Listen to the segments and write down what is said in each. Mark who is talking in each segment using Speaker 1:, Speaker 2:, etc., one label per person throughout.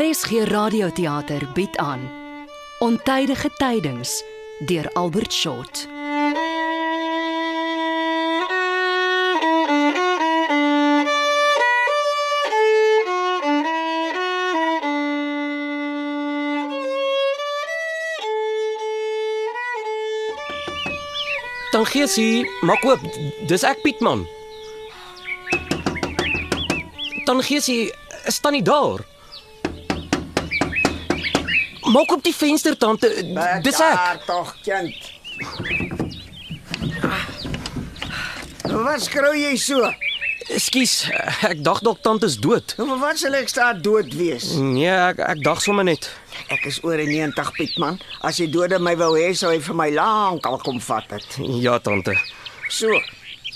Speaker 1: RSG Radioteater bied aan Ontydige tydings deur Albert Short.
Speaker 2: Tangesie, maak oop. Dis ek Pietman. Tangesie, is tannie daar? Maak oop die venster tante. Dis ek.
Speaker 3: Daar tog, kind. Wat skrou jy so?
Speaker 2: Ekskuus, ek dacht dalk tante's dood.
Speaker 3: Maar Wat sal ek staan dood wees?
Speaker 2: Nee, ek ek dag sommer net.
Speaker 3: Ek is oor die 90 Piet man. As die dode my wou hê, sou hy vir my lank al kom vat het.
Speaker 2: Ja tante.
Speaker 3: So.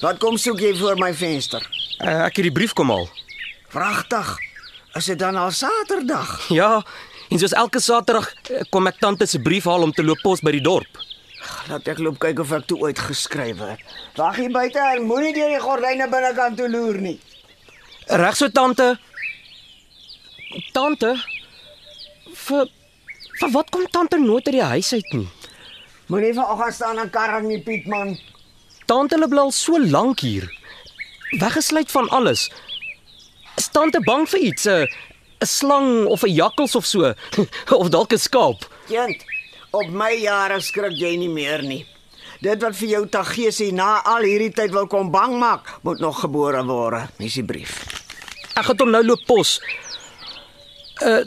Speaker 3: Wat kom soek jy voor my venster?
Speaker 2: Eh, Ek het die brief kom haal.
Speaker 3: Pragtig. Is dit dan al Saterdag?
Speaker 2: Ja, en soos elke Saterdag eh, kom ek tante se brief haal om te loop pos by die dorp.
Speaker 3: Laat ek loop kyk of ek toe ooit geskryf het. Wag hier buite en moenie deur die gordyne binnekant toe loer nie.
Speaker 2: Reg so tante. Tante vir vir wat kom tante nooit uit die huis uit nie?
Speaker 3: Moenie vanoggend staan en karring nie, Piet man.
Speaker 2: Tante hulle bly al so lank hier. Weggesluit van alles. Is tante bang vir iets? 'n 'n slang of 'n jakkals of so of dalk 'n skaap?
Speaker 3: Kind, op my jare skrik jy nie meer nie. Dit wat vir jou Taggeesie na al hierdie tyd wil kom bang maak, moet nog gebore word. Dis die brief.
Speaker 2: Ek gaan hom nou loop pos. Uh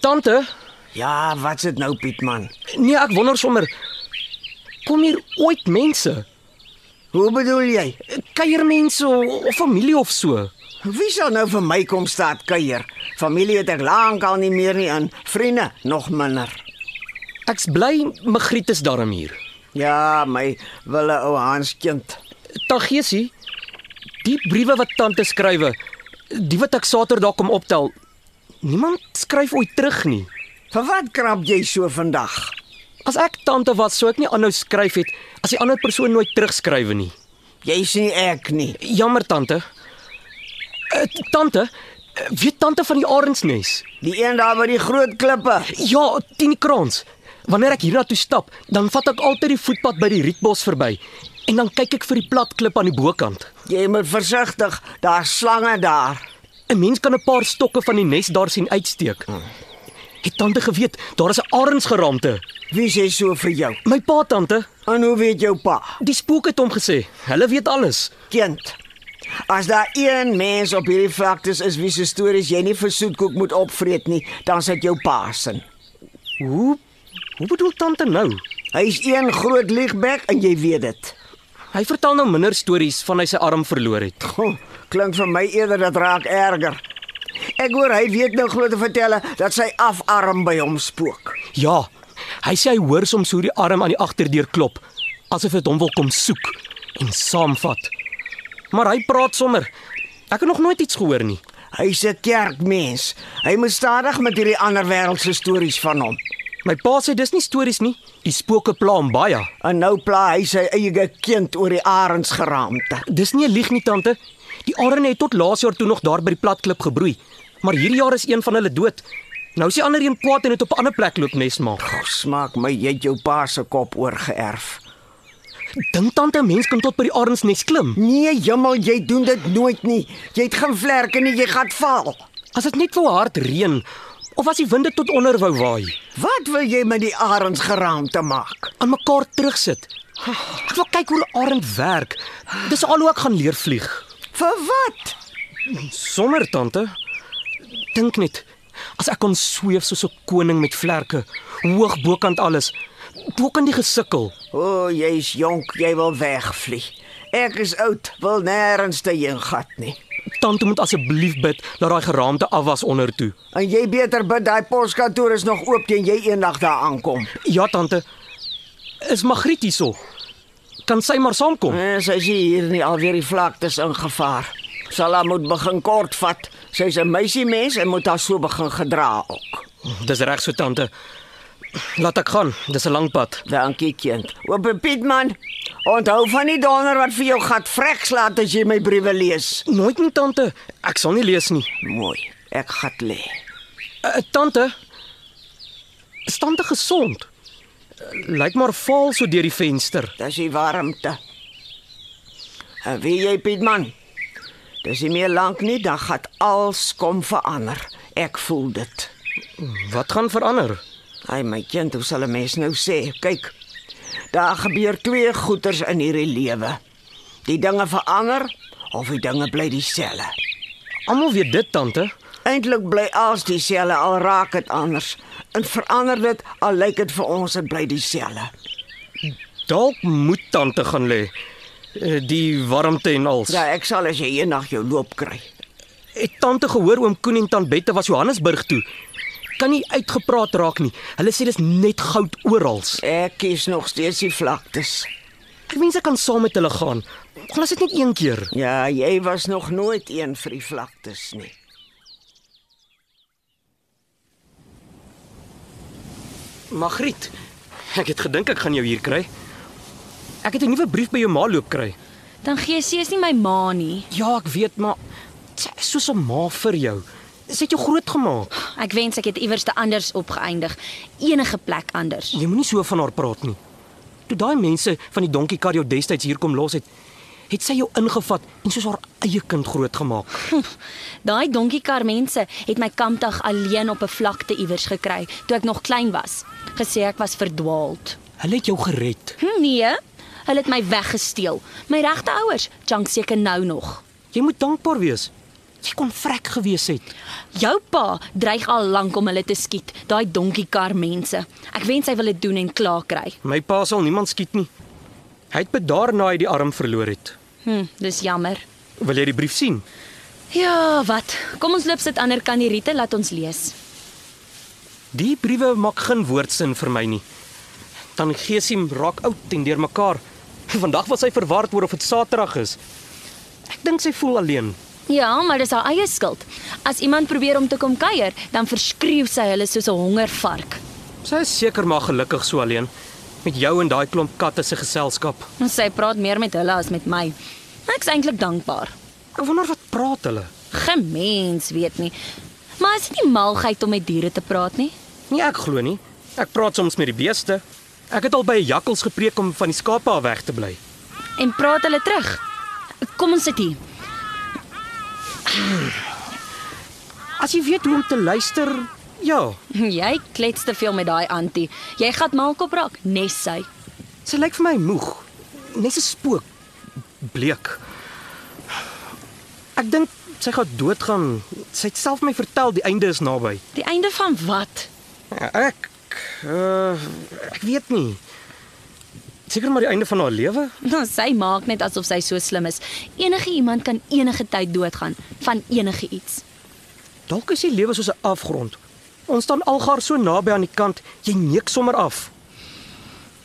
Speaker 2: tante,
Speaker 3: Ja, wat's dit nou Piet man?
Speaker 2: nee ek wonder sommer kom hier ooit mense?
Speaker 3: Hoe bedoel jy?
Speaker 2: Kuiermense of, of familie of so?
Speaker 3: Wie sal nou vir my kom staan kuier? Familie het ek lank al nie meer nie in, vriende nog minder.
Speaker 2: Ek's bly Magriet is daarom hier.
Speaker 3: Ja, my wille ou Hans kind.
Speaker 2: Taggeesie, die briewe wat tante skrywe, die wat ek Saterdag kom optel, niemand skryf ooit terug nie.
Speaker 3: Vir wat krap jy so vandag?
Speaker 2: As ek tante was, sou ek nie aanhou skryf het as die ander persoon nooit terugskrywe nie.
Speaker 3: Jy sien ek nie.
Speaker 2: Jammer tante. Eh, Tante, eh, weet tante van die arendsnes?
Speaker 3: Die een daar by die groot klippe.
Speaker 2: Ja, Tini Kraans. Wanneer ek hiernatoe stap, dan vat ek altyd die voetpad by die rietbos verby en dan kyk ek vir die plat klip aan die bokant.
Speaker 3: Jy moet versigtig, daar's slange daar.
Speaker 2: 'n Mens kan 'n paar stokke van die nes daar sien uitsteek. Het tante geweet, daar is 'n arendsgeraamte.
Speaker 3: Wie sê so vir jou?
Speaker 2: My pa tante,
Speaker 3: En hoe weet jou pa?
Speaker 2: die spook het hom gesê. Hulle weet alles.
Speaker 3: Kind. As daar een mens op hierdie vlaktes is wie se stories jy nie vir soetkoek moet opvreet nie, dan sit jou pa sin.
Speaker 2: Hoe hoe bedoel tante nou?
Speaker 3: Hy's een groot liegbek en jy weet dit.
Speaker 2: Hy vertel nou minder stories van hy sy arm verloor het.
Speaker 3: Goh, klink vir my eerder dat raak erger. Ek hoor hy weet nou glo te vertel dat sy afarm by hom spook.
Speaker 2: Ja, hy sê hy hoor soms hoe die arm aan die agterdeur klop, asof dit hom wil kom soek en saamvat. Maar hy praat sommer. Ek het nog nooit iets gehoor nie.
Speaker 3: Hy's 'n kerkmens. Hy moet stadig met hierdie ander wêreldse stories van hom.
Speaker 2: My pa sê dis nie stories nie. Die spooke pla hom baie.
Speaker 3: En nou pla hy sy eie kind oor die arendsgeraamte.
Speaker 2: Dis nie 'n lieg nie, tante. Die arende het tot laas jaar toe nog daar by die platklip gebroei, maar hierdie jaar is een van hulle dood. Nou is die ander een kwaad en het op 'n ander plek loop nes maak.
Speaker 3: Goh, smaak my, jy het jou pa se kop oorgeerf.
Speaker 2: Dink tante 'n mens kan tot by die arendsnes klim?
Speaker 3: Nee, jemmel, jy doen dit nooit nie. Jy het geen vlerke nie, jy gaan val.
Speaker 2: As dit net wou hard reën of as die wind dit tot onder wou waai,
Speaker 3: Wat wil jy met die arends geraamte maak?
Speaker 2: aan mekaar terugsit. Ek wil kyk hoe 'n arend werk. Dis al hoe ek gaan leer vlieg.
Speaker 3: Vir wat?
Speaker 2: Sommer tante. Dink net. As ek kon sweef soos 'n koning met vlerke, hoog bokant alles, bokant die gesukkel.
Speaker 3: O, oh, jy's jonk, jy wil wegvlieg. Ek is oud, wil nêrens te heen gat nie.
Speaker 2: Tante moet asseblief bid dat daai geraamte af was onder toe.
Speaker 3: En jy beter bid daai poskantoor is nog oop teen jy eendag daar aankom.
Speaker 2: Ja, tante. Is Magriet hierso? Kan sy maar saamkom?
Speaker 3: Nee, sy is hier nie alweer die vlaktes in gevaar. Sal haar moet begin kort vat. Sy's 'n meisiemens en moet haar so begin gedra ook.
Speaker 2: Dis reg so, tante. Laat ek gaan. Dis 'n lang pad.
Speaker 3: Dankie kind. Oop Pietman. Onthou van die donder wat vir jou gat vrek slaat as jy my briewe lees.
Speaker 2: Nooit nie, tante. Ek sal nie lees nie.
Speaker 3: Mooi. Ek gat lê.
Speaker 2: Uh, tante. Is tante gesond? Lyk maar vaal so deur die venster.
Speaker 3: Dis die warmte. En wie jy Pietman? Dis nie meer lank nie, dan gaan alles kom verander. Ek voel dit.
Speaker 2: Wat gaan verander?
Speaker 3: Ai my kind, hoe sal 'n mens nou sê? Kyk. Daar gebeur twee goeters in hierdie lewe. Die dinge verander of die dinge bly dieselfde.
Speaker 2: Almal weet dit, tante.
Speaker 3: Eintlik bly alles dieselfde al raak dit anders. En verander dit al lyk dit vir ons dit bly dieselfde.
Speaker 2: Dalk moet tante gaan lê. Eh, Die warmte en als.
Speaker 3: Ja, ek sal as jy eendag jou loop kry.
Speaker 2: Het tante gehoor oom Koen en tant Bette was Johannesburg toe. Kan nie uitgepraat raak nie. Hulle sê dis net goud oral.
Speaker 3: Ek kies nog steeds die vlaktes.
Speaker 2: Ek mens ek kan saam met hulle gaan. Gaan as dit net een keer.
Speaker 3: Ja, jy was nog nooit een vir die vlaktes nie.
Speaker 2: Magriet, ek het gedink ek gaan jou hier kry. Ek het 'n nuwe brief by jou ma loop kry.
Speaker 4: Dan gee sy is nie my ma nie.
Speaker 2: Ja, ek weet, maar sy is soos 'n ma vir jou. Sy het jou grootgemaak.
Speaker 4: Ek wens ek het iewers te anders opgeëindig, enige plek anders.
Speaker 2: Jy moenie so van haar praat nie. Toe daai mense van die donkiekar jou destyds hier kom los het, het sy jou ingevat en soos haar eie kind grootgemaak.
Speaker 4: Daai donkiekar mense het my kampdag alleen op 'n vlakte iewers gekry toe ek nog klein was. Gesê ek was verdwaald.
Speaker 2: Hulle het jou gered.
Speaker 4: Hm, nee, hulle het my weggesteel. My regte ouers, jank seker nou nog.
Speaker 2: Jy moet dankbaar wees. Jy kon vrek gewees het.
Speaker 4: Jou pa dreig al lank om hulle te skiet, daai donkiekar mense. Ek wens hy wil dit doen en klaar kry.
Speaker 2: My pa sal niemand skiet nie. Hy het bedaar na hy die arm verloor het.
Speaker 4: Hm, dis jammer.
Speaker 2: Wil jy die brief sien?
Speaker 4: Ja, wat? Kom ons loop sit ander kan die riete laat ons lees.
Speaker 2: Die briewe maak geen woordsin vir my nie. Dan Gesim raak oud en deurmekaar. Vandag was hy verward oor of dit Saterdag is. Ek dink sy voel alleen.
Speaker 4: Ja, maar dis haar eie skuld. As iemand probeer om te kom kuier, dan verskreeu sy hulle soos 'n hongervark.
Speaker 2: Sy is seker maar gelukkig so alleen met jou en daai klomp katte se geselskap.
Speaker 4: En Sy praat meer met hulle as met my. Ek's eintlik dankbaar.
Speaker 2: Ek wonder wat praat hulle?
Speaker 4: Gemens weet nie. Maar is dit nie malgheid om met diere te praat nie?
Speaker 2: Nee, ek glo nie. Ek praat soms met die beeste. Ek het al by 'n jakkals gepreek om van die skape af weg te bly.
Speaker 4: En praat hulle terug. Kom ons sit hier.
Speaker 2: As jy weet hoe om te luister, ja,
Speaker 4: Jy klets te veel met daai antie. Jy gaan maalkop raak, nes sy.
Speaker 2: sy lyk vir my moeg. Net 'n spook. Bleek. Ek dink sy gaan doodgaan. Sy het self my vertel die einde is naby.
Speaker 4: Die einde van wat?
Speaker 2: Ek uh, ek weet nie. Seker maar die einde van haar lewe.
Speaker 4: Nou sy maak net asof sy so slim is. Enige iemand kan enige tyd doodgaan van enige iets.
Speaker 2: Dalk is die lewe soos 'n afgrond. Ons staan algaar so naby aan die kant, jy neek sommer af.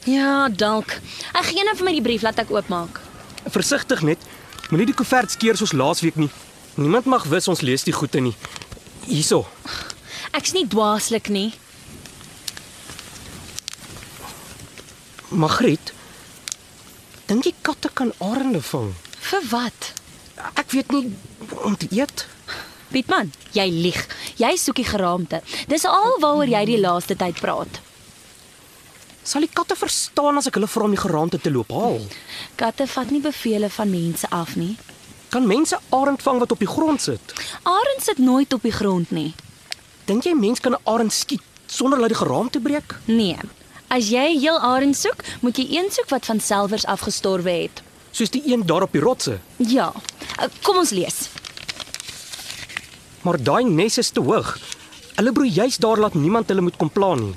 Speaker 4: Ja, dalk. Ek gee nou vir my die brief laat ek oopmaak.
Speaker 2: Versigtig net. Moenie die koevert skeer soos laasweek nie. Niemand mag wis ons lees die goeie nie. Hierso.
Speaker 4: Ek's nie dwaaslik nie.
Speaker 2: Magriet, dink jy katte kan arende vang?
Speaker 4: Vir wat?
Speaker 2: Ek weet nie om te eet.
Speaker 4: Pietman, jy lieg. Jy soek die geraamte. Dis al waaroor jy die laaste tyd praat.
Speaker 2: Sal die katte verstaan as ek hulle vra om die geraamte te loop haal?
Speaker 4: Katte vat nie bevele van mense af nie.
Speaker 2: Kan mense arend vang wat op die grond sit?
Speaker 4: Arend sit nooit op die grond nie.
Speaker 2: Dink jy mens kan 'n arend skiet sonder dat die geraamte breek?
Speaker 4: Nee. As jy heel arend soek, moet jy een soek wat van selvers afgestorwe het.
Speaker 2: Soos die een daar op die rotse.
Speaker 4: Ja. Kom ons lees.
Speaker 2: Maar daai nes is te hoog. Hulle broei juis daar laat niemand hulle moet kom pla nie.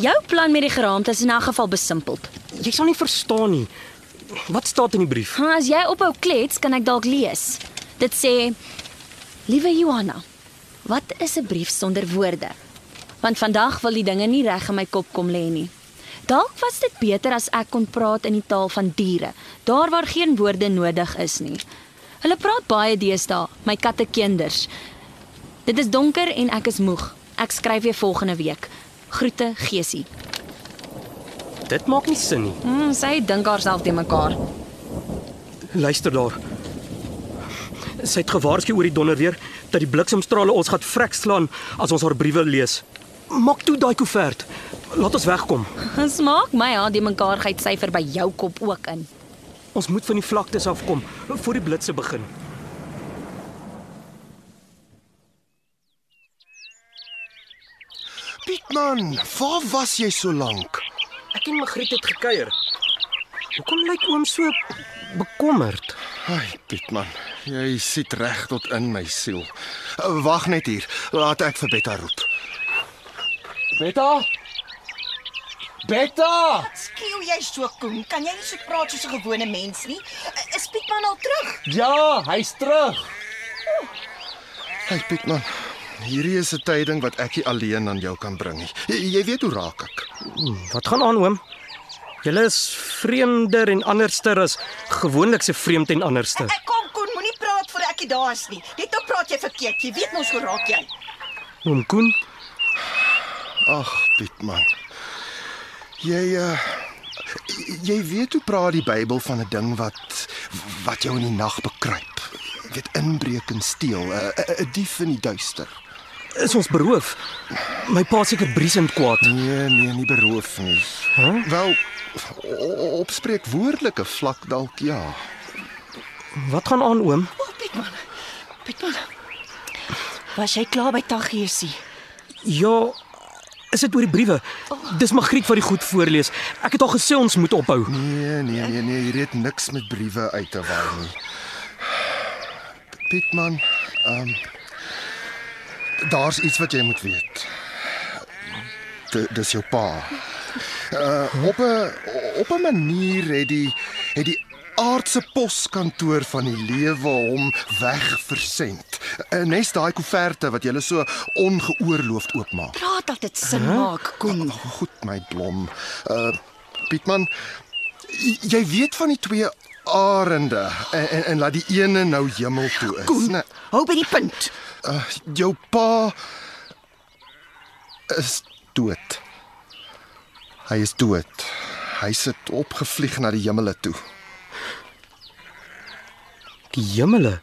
Speaker 4: Jou plan met die geraamte is in 'n geval besimpeld.
Speaker 2: Jy sal nie verstaan nie. Wat staan in die brief?
Speaker 4: Ha, As jy ophou klets, kan ek dalk lees. Dit sê: Liewe Johanna, wat is 'n brief sonder woorde? Want vandag wil die dinge nie reg in my kop kom lê nie. Dalk was dit beter as ek kon praat in die taal van diere, daar waar geen woorde nodig is nie. Hulle praat baie deesdae, my kattekinders. Dit is donker en ek is moeg. Ek skryf weer volgende week. Groete, Gesie.
Speaker 2: Dit maak nie sin nie.
Speaker 4: Mm, sy dink haarself te mekaar.
Speaker 2: Luister daar. Sy het gewaarsku oor die donder weer dat die bliksemstrale ons gaan vrek slaan as ons haar briewe lees. Maak toe daai koevert. Laat ons wegkom.
Speaker 4: Ons maak my haar die mekaarheid syfer by jou kop ook in.
Speaker 2: Ons moet van die vlaktes afkom voor die blitse begin.
Speaker 5: Pietman, waar was jy so lank?
Speaker 2: Ek en Magriet het gekuier. Hoekom lyk oom so bekommerd?
Speaker 5: Ai, Pietman, jy sit reg tot in my siel. Uh, Wag net hier, laat ek vir Betta roep.
Speaker 2: Betta? Betta!
Speaker 6: Skiew jy so koen? Kan jy nie so praat soos 'n gewone mens nie? Eh, I- Is Pietman al nou terug?
Speaker 2: Ja, hy's terug.
Speaker 5: Ai, Pietman, hierdie is 'n tyding wat ek nie alleen aan jou kan bring nie. Jy, jy weet hoe raak ek.
Speaker 2: Wat gaan aan oom? Julle is vreemder en anderster as gewoonlik se vreemd en anderster.
Speaker 6: Ek kom koen, moenie praat voor ek hier daar is nie. Net nou praat jy verkeerd. Jy weet mos hoe raak jy.
Speaker 2: Oom Koen,
Speaker 5: Ag, Pietman. Jy uh, jy weet hoe praat die Bybel van 'n ding wat wat jou in die nag bekruip. Jy Weet inbreek en steel, 'n uh, 'n dief in die duister.
Speaker 2: is ons beroof. My pa is seker briesend kwaad.
Speaker 5: Nee, nee, nie beroof nie. Huh? Wel o- o- op spreekwoordelike vlak dalk ja.
Speaker 2: Wat gaan aan oom?
Speaker 6: O, oh, Pietman. Pietman. Was jy klaar by Taggiesie?
Speaker 2: Ja, is dit oor die briewe?
Speaker 6: Oh.
Speaker 2: Dis Magriet wat die goed voorlees. Ek het al gesê ons moet ophou.
Speaker 5: Nee, nee, nee, nee, hier het niks met briewe uit te waai nie. Pietman, ehm um, daar's iets wat jy moet weet. D dis jou pa. Uh, op 'n op 'n manier het die het die aardse poskantoor van die lewe hom wegversend. Uh, Nes daai koeverte wat jy so ongeoorloofd oopmaak.
Speaker 6: Praat dat dit sin huh? maak, koen.
Speaker 5: Goed my blom. Uh Pietman, j- jy weet van die twee arende en, en, en laat die ene nou hemel toe is. Nee,
Speaker 6: Hou by die punt.
Speaker 5: uh, jou pa is dood. Hy is dood. Hy sit opgevlieg na die hemele toe.
Speaker 2: Die hemele.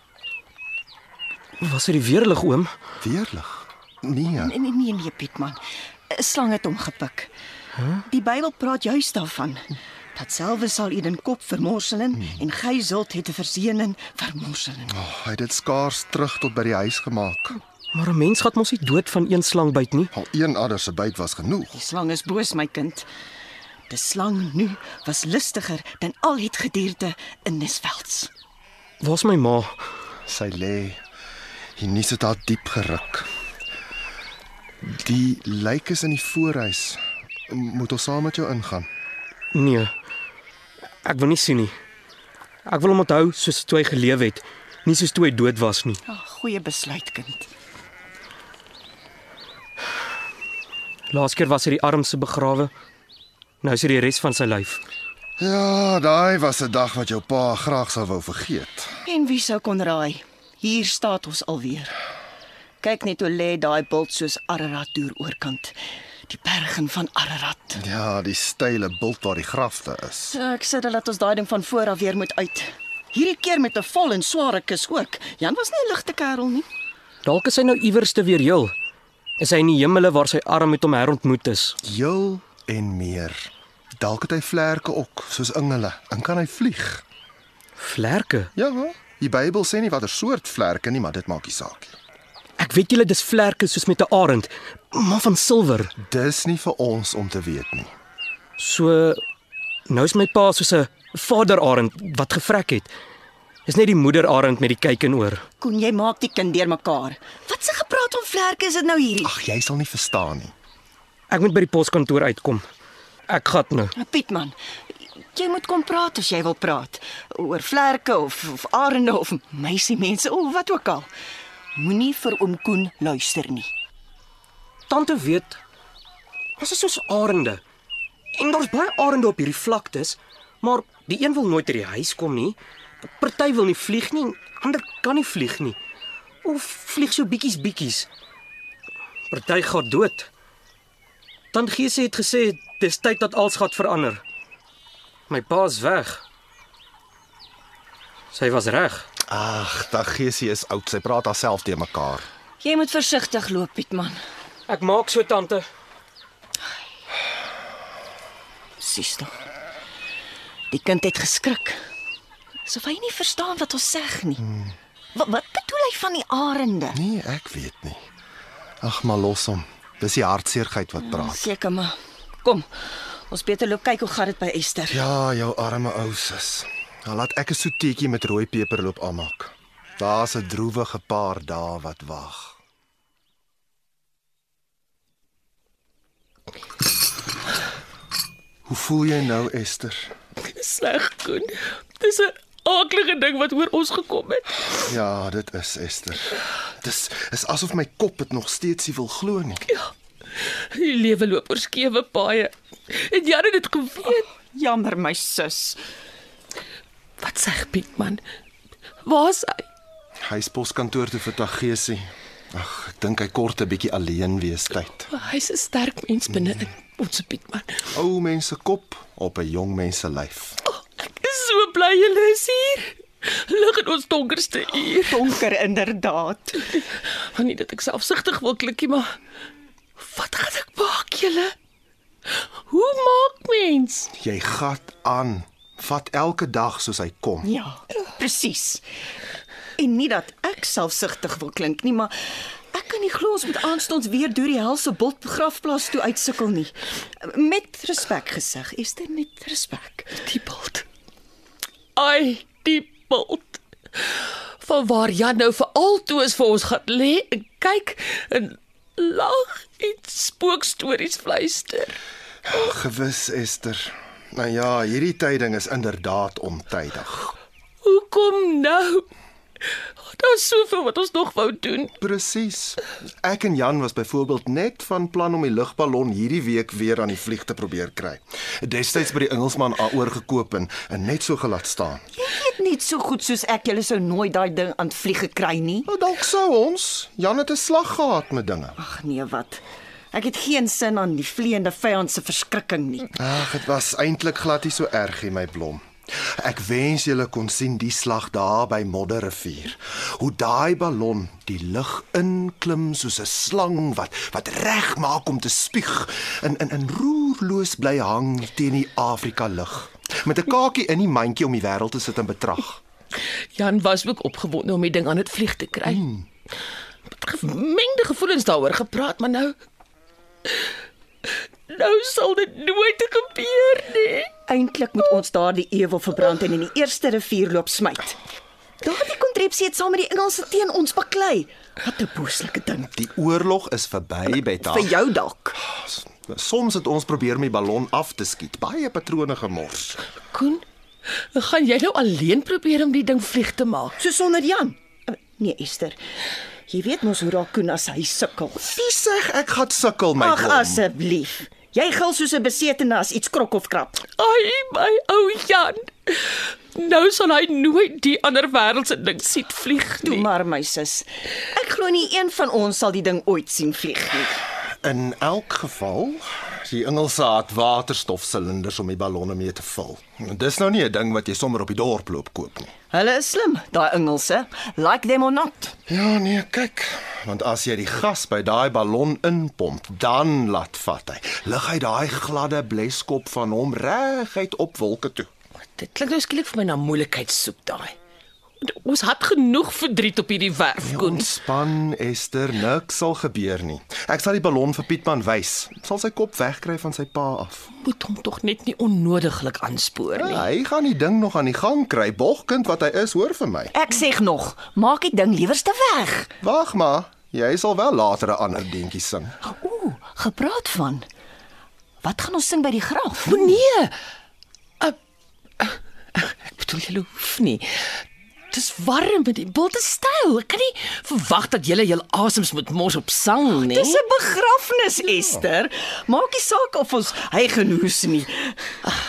Speaker 2: Was dit die weerlig oom?
Speaker 5: Weerlig. Nee.
Speaker 6: Nee, nee, nee, nee Pietman. 'n Slang het hom gepik. Huh? Die Bybel praat juis daarvan. Dat selwe sal Eden kop vermorselen hmm. en Gysult het te verseënen vermorselen.
Speaker 5: Oh, hy het dit skaars terug tot by die huis gemaak.
Speaker 2: Maar 'n mens gaan mos nie dood van een slang byt nie.
Speaker 5: Al een adder se byt was genoeg.
Speaker 6: Die slang is boos, my kind. Die slang nu was listiger dan al het gedierte in Nisvelds.
Speaker 2: Waar's my ma?
Speaker 5: Sy lê. Hy nies dit haar diep geruk. Die lijk is in die voorhuis. Moet ons saam met jou ingaan?
Speaker 2: Nee. Ek wil nie sien nie. Ek wil hom onthou soos toe hy geleef het, nie soos toe hy dood was nie.
Speaker 6: Ag, goeie besluit, kind.
Speaker 2: Laas keer was hy die armste begrawe. Nou is hy die res van sy lyf.
Speaker 5: Ja, daai was 'n dag wat jou pa graag sou wou vergeet.
Speaker 6: En wie sou kon raai? Hier staan ons alweer. Kyk net hoe lê daai bult soos Ararat deur oorkant. Die bergen van Ararat.
Speaker 5: Ja, die steile bult waar die grafte is.
Speaker 6: So, ek sê dat laat ons daai ding van voor af weer moet uit. Hierdie keer met 'n vol en sware kus ook. Jan was nie 'n ligte kerel nie.
Speaker 2: Dalk is hy nou iewers te weer heel. Is hy in die hemele waar sy arm met hom herontmoet is?
Speaker 5: Heel en meer. Dalk het hy vlerke ook, soos engele, en kan hy vlieg.
Speaker 2: Vlerke.
Speaker 5: Ja, die Bybel sê nie watter soort vlerke nie, maar dit maak nie saak nie.
Speaker 2: Ek weet julle dis vlerke soos met 'n arend, maar van silwer.
Speaker 5: Dis nie vir ons om te weet nie.
Speaker 2: So nou is my pa soos 'n vaderarend wat gevrek het. Dis net die moederarend met die kyk in oor.
Speaker 6: Kon jy maak die kind deurmekaar? Wat se gepraat van vlerke is dit nou hierdie?
Speaker 5: Ag, jy sal nie verstaan nie.
Speaker 2: Ek moet by die poskantoor uitkom. Ek gat nou.
Speaker 6: Pietman, jy moet kom praat as jy wil praat oor vlerke of of arende of meisiemense of wat ook al. Moenie vir oom Koen luister nie.
Speaker 2: Tante weet ons is soos arende. En daar's baie arende op hierdie vlaktes, maar die een wil nooit uit die huis kom nie. Party wil nie vlieg nie, ander kan nie vlieg nie. Of vlieg so bietjies bietjies. Party gaan dood. Tant Geese het gesê dis tyd dat alles gaan verander. My pa's weg. Sy was reg.
Speaker 5: Ag, Taggesie is oud. Sy praat haarself te mekaar.
Speaker 6: Jy moet versigtig loop, Pietman.
Speaker 2: Ek maak so tante.
Speaker 6: Sies tog. Die kind het geskrik. Asof hy nie verstaan wat ons sê nie. Wat wat bedoel hy van die arende?
Speaker 5: Nee, ek weet nie. Ag, maar los hom. Dis die hartseerheid wat praat.
Speaker 6: Seker maar. Kom. Ons beter loop kyk hoe gaan dit by Esther.
Speaker 5: Ja, jou arme ou sis. Nou laat ek 'n soetetjie met rooi peperloop aanmaak. Daar's 'n droewige paar dae wat wag. Hoe voel jy nou, Esther?
Speaker 7: Sleg, Koen. Dis 'n aaklige ding wat oor ons gekom het.
Speaker 5: Ja, dit is Esther. Dis is asof my kop dit nog steeds nie wil glo nie.
Speaker 7: Die lewe loop oor skewe paaie. En jy het dit geweet.
Speaker 6: Jammer my sus.
Speaker 7: Wat sê Piet man? Waar's hy?
Speaker 5: Hy is poskantoor toe vir Taggesie. Ag, ek dink hy kort 'n bietjie alleen wees tyd.
Speaker 7: Hy's 'n sterk mens binne in ons Piet man.
Speaker 5: Ou mense kop op 'n jong mens se lyf.
Speaker 7: Oh, ek is so bly julle is hier. Lig in ons donkerste uur.
Speaker 6: Donker inderdaad.
Speaker 7: Maar nie dat ek selfsugtig wil klikkie maar wat gaan ek maak julle? Hoe maak mens?
Speaker 5: Jy gat aan. Vat elke dag soos hy kom.
Speaker 6: Ja, presies. En nie dat ek selfsugtig wil klink nie, maar ek kan nie glo ons moet aanstonds weer deur die helse bot begrafplaas toe uitsukkel nie. Met respek gesig, Esther, met respek.
Speaker 7: Die bult. Ai, die bult. Van waar Jan nou vir altoos vir ons gaan lê en kyk en lag en spookstories fluister.
Speaker 5: Gewis, Esther. Nou ja, hierdie tyding is inderdaad ontydig.
Speaker 7: Hoekom nou? Daar's soveel wat ons nog wou doen.
Speaker 5: Presies. Ek en Jan was byvoorbeeld net van plan om die lugballon hierdie week weer aan die vlieg te probeer kry. Destyds by die Engelsman aoor gekoop en, en net so gelaat staan.
Speaker 6: Jy weet net so goed soos ek julle sou nooit daai ding aan vlieg gekry nie.
Speaker 5: Nou dalk sou ons Jan het 'n slag gehad met dinge.
Speaker 6: Ag nee, wat? Ek het geen sin aan die vleiende vyand se verskrikking nie.
Speaker 5: Ag, dit was eintlik glad nie so erg nie, my blom. Ek wens julle kon sien die slag daar by Modderrivier. Hoe daai ballon die lug inklim soos 'n slang wat wat reg maak om te spieg en in in roerloos bly hang teen die Afrika lug. Met 'n kakie in die mandjie om die wêreld te sit en betrag.
Speaker 7: Jan was ook opgewonde om die ding aan dit vlieg te kry. Hmm. Mengde gevoelens daaroor gepraat, maar nou nou sal dit nooit gebeur nie.
Speaker 6: Eintlik moet ons daardie ewel verbrand en in die eerste rivier loop smyt. Daardie kontrepsie het saam met die Engelse teen ons baklei. Wat 'n boeslike ding.
Speaker 5: Die oorlog is verby, Betta.
Speaker 6: Vir jou dalk.
Speaker 5: Soms het ons probeer met die ballon af te skiet, baie patrone gemors.
Speaker 7: Koen, gaan jy nou alleen probeer om die ding vlieg te maak?
Speaker 6: So sonder Jan. Nee, Esther. Jy weet mos hoe raak Koen as hy sukkel.
Speaker 5: Wie sê ek gaan sukkel my
Speaker 6: Ag asseblief. Jy gil soos 'n besetene as iets krok of krap.
Speaker 7: Ai, my ou Jan. Nou sal hy nooit die ander wêreld se ding sien vlieg
Speaker 6: Toe
Speaker 7: nie.
Speaker 6: maar my sus. Nee. Ek glo nie een van ons sal die ding ooit sien vlieg nie.
Speaker 5: In elk geval, die Engelse het waterstofsilinders om die ballonne mee te vul. En Dis nou nie 'n ding wat jy sommer op die dorp loop koop nie.
Speaker 6: Hulle is slim, daai Engelse. Like them or not.
Speaker 5: Ja, nee, kyk, want as jy die gas by daai ballon inpomp, dan laat vat hy. Lig hy daai gladde bleskop van hom reguit op wolke toe.
Speaker 7: Dit klink nou skielik vir my na moeilikheid soek daai. Ons het genoeg verdriet op hierdie werf, Koen.
Speaker 5: Ontspan, Esther, niks sal gebeur nie. Ek sal die ballon vir Pietman wys. Sal sy kop wegkry van sy pa af.
Speaker 7: Moet hom tog net nie onnodiglik aanspoor nie.
Speaker 5: Hy gaan die ding nog aan die gang kry, bogkind wat hy is, hoor vir my.
Speaker 6: Ek sê nog, maak die ding liewerste weg.
Speaker 5: Wag maar, jy sal wel later 'n ander deuntjie sing.
Speaker 6: Ooh, gepraat van. Wat gaan ons sing by die graf?
Speaker 7: O nee. Uh, ek bedoel jy hoef nie. Dis warm met die bilte styl. Ek kan nie verwag dat jy jou asems moet mors op sang nie.
Speaker 6: Dis 'n begrafnis, Esther. Maak nie saak of ons hy genoes nie. Ah,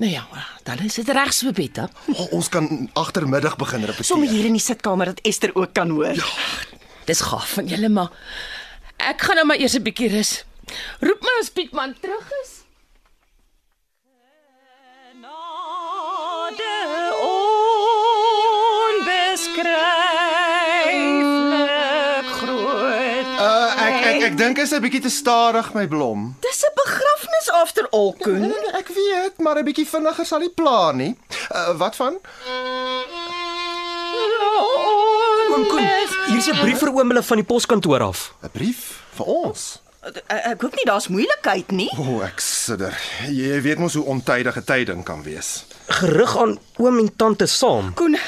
Speaker 7: Nou ja, dan is dit reg so Betta.
Speaker 5: O, ons kan agtermiddag begin
Speaker 6: Sommige
Speaker 5: repeteer.
Speaker 6: hier in die sitkamer dat Esther ook kan hoor.
Speaker 7: Dis gaaf van julle, maar ek gaan nou maar eers 'n bietjie rus. Roep my as Pietman terug is.
Speaker 6: Onbeskryf
Speaker 5: Uh, ek ek ek dink is 'n bietjie te stadig my blom.
Speaker 6: Dis 'n begrafnis after all, Koen.
Speaker 5: Nee, nee, ek weet, maar 'n bietjie vinniger sal die pla nie. Uh, wat van?
Speaker 2: Oom Koen, hier's 'n brief vir oom hulle van die poskantoor af.
Speaker 5: 'n Brief vir ons.
Speaker 6: Ek Nou, eh, ek hoop nie daar's moeilikheid nie.
Speaker 5: O, oh, ek sidder. Jy weet mos hoe ontydige tyding kan wees.
Speaker 2: Gerig aan oom en tante saam.
Speaker 6: Koen,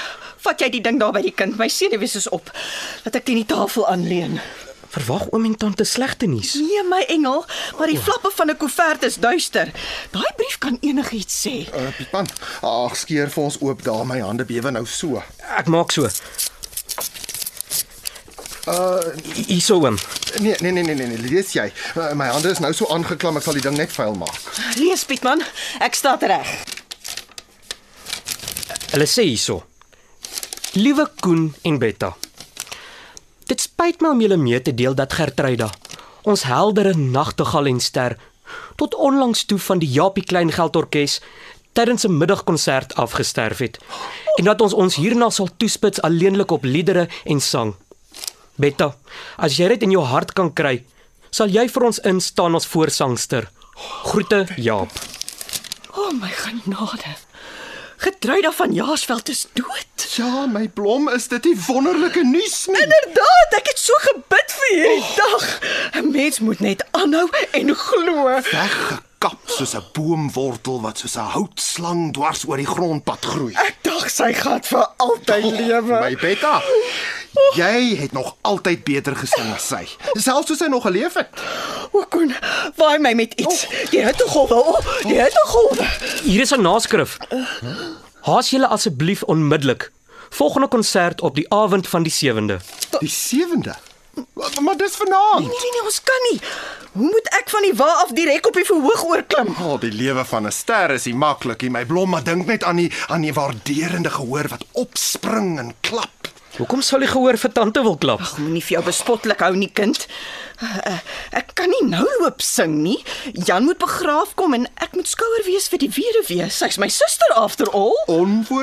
Speaker 6: vat jy die ding daar by die kind? My senuwees is op. Laat ek teen die tafel aanleun.
Speaker 2: Verwag oom en tante slegte nuus.
Speaker 6: Nee, my engel, maar die flappe van 'n koevert is duister. Daai brief kan enigiets sê.
Speaker 5: Uh, Pietman, ag skeer vir ons oop daar, my hande bewe nou so.
Speaker 2: Ek maak so.
Speaker 5: Uh
Speaker 2: Hierso oom.
Speaker 5: nee, nee nee nee nee, nee, lees jy. Uh, my hande is nou so aangeklam, ek sal die ding net vuil maak.
Speaker 6: Lees Pietman, ek staan reg.
Speaker 2: Hulle sê hierso. Liewe Koen en Betta. Dit spyt my om julle mee te deel dat Gertryda, ons heldere nagtegaal en ster, tot onlangs toe van die Japie Kleingeld Orkees tydens 'n middagkonsert afgesterf het en dat ons ons hierna sal toespits alleenlik op liedere en sang. Betta, as jy dit in jou hart kan kry, sal jy vir ons instaan as voorsangster. Groete, Jaap.
Speaker 6: O oh, my genade. Getruida van Jaarsveld is dood.
Speaker 5: Ja, my blom, is dit nie wonderlike nuus nie?
Speaker 6: Inderdaad, ek het so gebid vir hierdie oh. dag. 'n Mens moet net aanhou en glo.
Speaker 5: Weggekap soos 'n boomwortel wat soos 'n houtslang dwars oor die grondpad groei.
Speaker 6: Ek dink sy gaan vir altyd lewe.
Speaker 5: My Betta, jy het nog altyd beter gesing as sy, selfs toe sy nog geleef het.
Speaker 6: O kon, waai my met iets. Oh. Die hittegolwe, o, oh, die hittegolwe.
Speaker 2: Hier is 'n naskrif. Haas julle asseblief onmiddellik. Volgende konsert op die avond van die 7de.
Speaker 5: Die sewende. Maar- Maar dis vanaand.
Speaker 6: Nee nee nee, ons kan nie. Hoe moet ek van die wa af direk op die verhoog oorklim?
Speaker 5: Al die lewe van 'n ster is nie maklik nie, my blom, maar dink net aan die aan die waarderende gehoor wat opspring en klap.
Speaker 2: Hoekom sal jy gehoor vir tante wil klap?
Speaker 6: Ag, moenie vir jou bespottelik hou nie, kind. Eh, Ek kan nie nou loop sing nie. Jan moet begraaf kom en ek moet skouer wees vir die weduwee. Sy's my suster after all.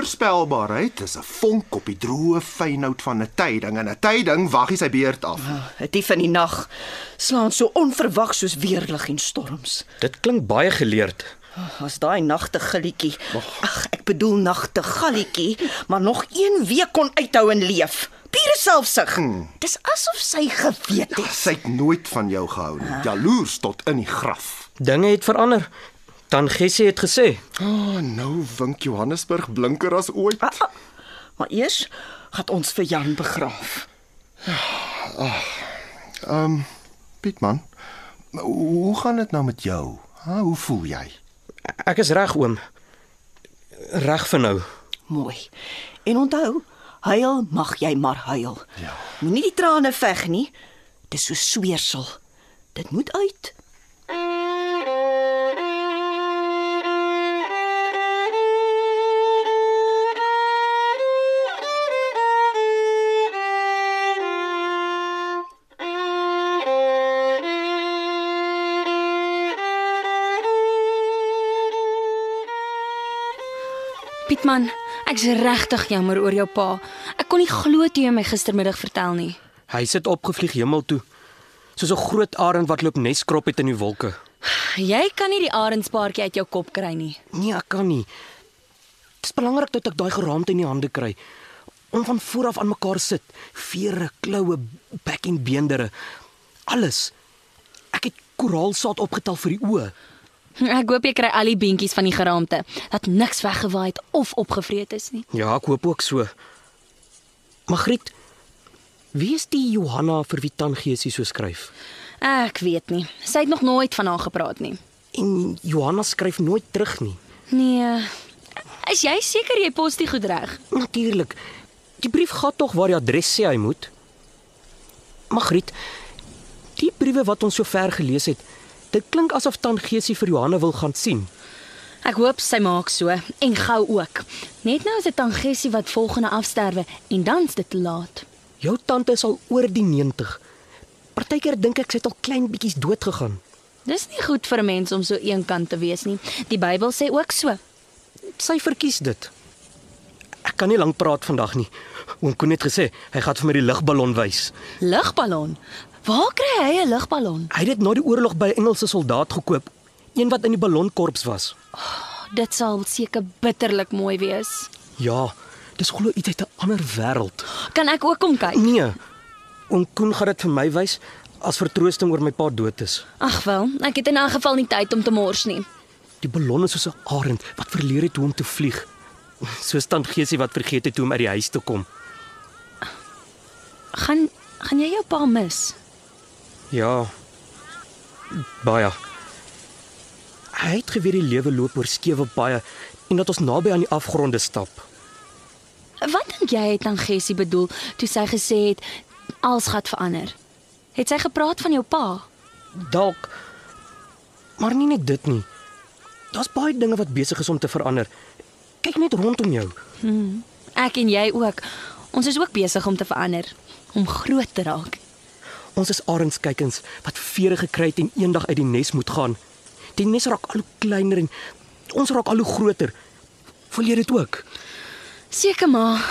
Speaker 5: Onvoorspelbaarheid is 'n vonk op die droë fynhout van 'n tyding en 'n tyding waggie sy beurt af.
Speaker 6: Dit dief in die nag slaan so onverwag soos weerlig en storms.
Speaker 2: Dit klink baie geleerd.
Speaker 6: As daai nagtegalletjie. Ag, ek bedoel nagtegalletjie, maar nog een week kon uithou en leef. Pure selfsug. Dis asof sy geweet het.
Speaker 5: Sy het nooit van jou gehou nie, jaloers tot in die graf.
Speaker 2: Dinge het verander. Dan Gessie het gesê,
Speaker 5: O, oh, nou wink Johannesburg blinker as ooit.
Speaker 6: Maar eers gaan ons vir Jan begraaf.
Speaker 5: Pietman, hoe gaan dit nou met jou? Ha, hoe voel jy?
Speaker 2: ek is reg oom. Reg vir nou.
Speaker 6: Mooi. En onthou, huil mag jy maar huil.
Speaker 5: Ja.
Speaker 6: Moenie die trane veg nie. Dis so sweersel. Dit moet uit.
Speaker 4: Pietman, ek's regtig jammer oor jou pa. Ek kon nie glo toe jy my gistermiddag vertel nie.
Speaker 2: Hy sit opgevlieg hemel toe, soos 'n groot arend wat loop neskrop het in die wolke.
Speaker 4: Jy kan nie die arendspaartjie uit jou kop kry nie.
Speaker 2: Nee, ek kan nie. Dit is belangrik dat ek daai geraamte in die hande kry. Om van voor af aan mekaar sit, vere, kloue, bek en beendere. Alles. Ek het koraalsaad opgetel vir die oë.
Speaker 4: Ek hoop jy kry al die beentjies van die geraamte dat niks weggewaai het of opgevreet is nie.
Speaker 2: Ja, ek hoop ook so. Magriet, wie is die Johanna vir wie Tangiesie so skryf?
Speaker 4: Ek weet nie. Sy het nog nooit van haar gepraat nie.
Speaker 2: En Johanna skryf nooit terug nie.
Speaker 4: Nee. Is jy seker jy pos die goed reg?
Speaker 2: Natuurlik. Die brief gaan tog waar die adres sê hy moet. Magriet, die briewe wat ons sover gelees het, dit klink asof Tangiesie vir Johanna wil gaan sien.
Speaker 4: Ek hoop sy maak so en gou ook. Net nou is dit Tangessie wat volgende afsterwe en dan's dit te laat.
Speaker 2: Jou tante is al oor die 90. Partykeer dink ek sy het al klein bietjies dood gegaan.
Speaker 4: Dis nie goed vir 'n mens om so eenkant te wees nie. Die Bybel sê ook so.
Speaker 2: Sy verkies dit. Ek kan nie lank praat vandag nie. Oom Koen het gesê hy gaan vir my die lugballon wys.
Speaker 4: Lugballon. Waar kry hy 'n lugballon?
Speaker 2: Hy het dit na die oorlog by 'n Engelse soldaat gekoop, een wat in die ballonkorps was.
Speaker 4: Dit sal seker bitterlik mooi wees.
Speaker 2: Ja, dis glo iets uit 'n ander wêreld.
Speaker 4: Kan ek ook kom kyk?
Speaker 2: Nee. Oom Koen gaan dit vir my wys as vertroosting oor my pa dood is.
Speaker 4: Ag wel, ek het in 'n geval nie tyd om te mors nie.
Speaker 2: Die ballon is soos 'n arend wat verleer het hoe om te vlieg. Soos tant Geesie wat vergeet het hoe om uit die huis te kom.
Speaker 4: Gaan gaan jy jou pa mis?
Speaker 2: Ja. Baie. Hy het geweet die lewe loop oor skewe paaie en dat ons naby aan die afgronde stap.
Speaker 4: Wat dink jy het aan Gessie bedoel toe sy gesê het alles gaan verander? Het sy gepraat van jou pa?
Speaker 2: Dalk maar nie net dit nie. Daar's baie dinge wat besig is om te verander. Kyk net rondom jou.
Speaker 4: Ek en jy ook. Ons is ook besig om te verander, om groot te raak.
Speaker 2: Ons is arendskuikens wat vere gekry het en eendag uit die nes moet gaan. Die nes raak al hoe kleiner en ons raak al hoe groter. Voel jy dit ook?
Speaker 4: Seker maar.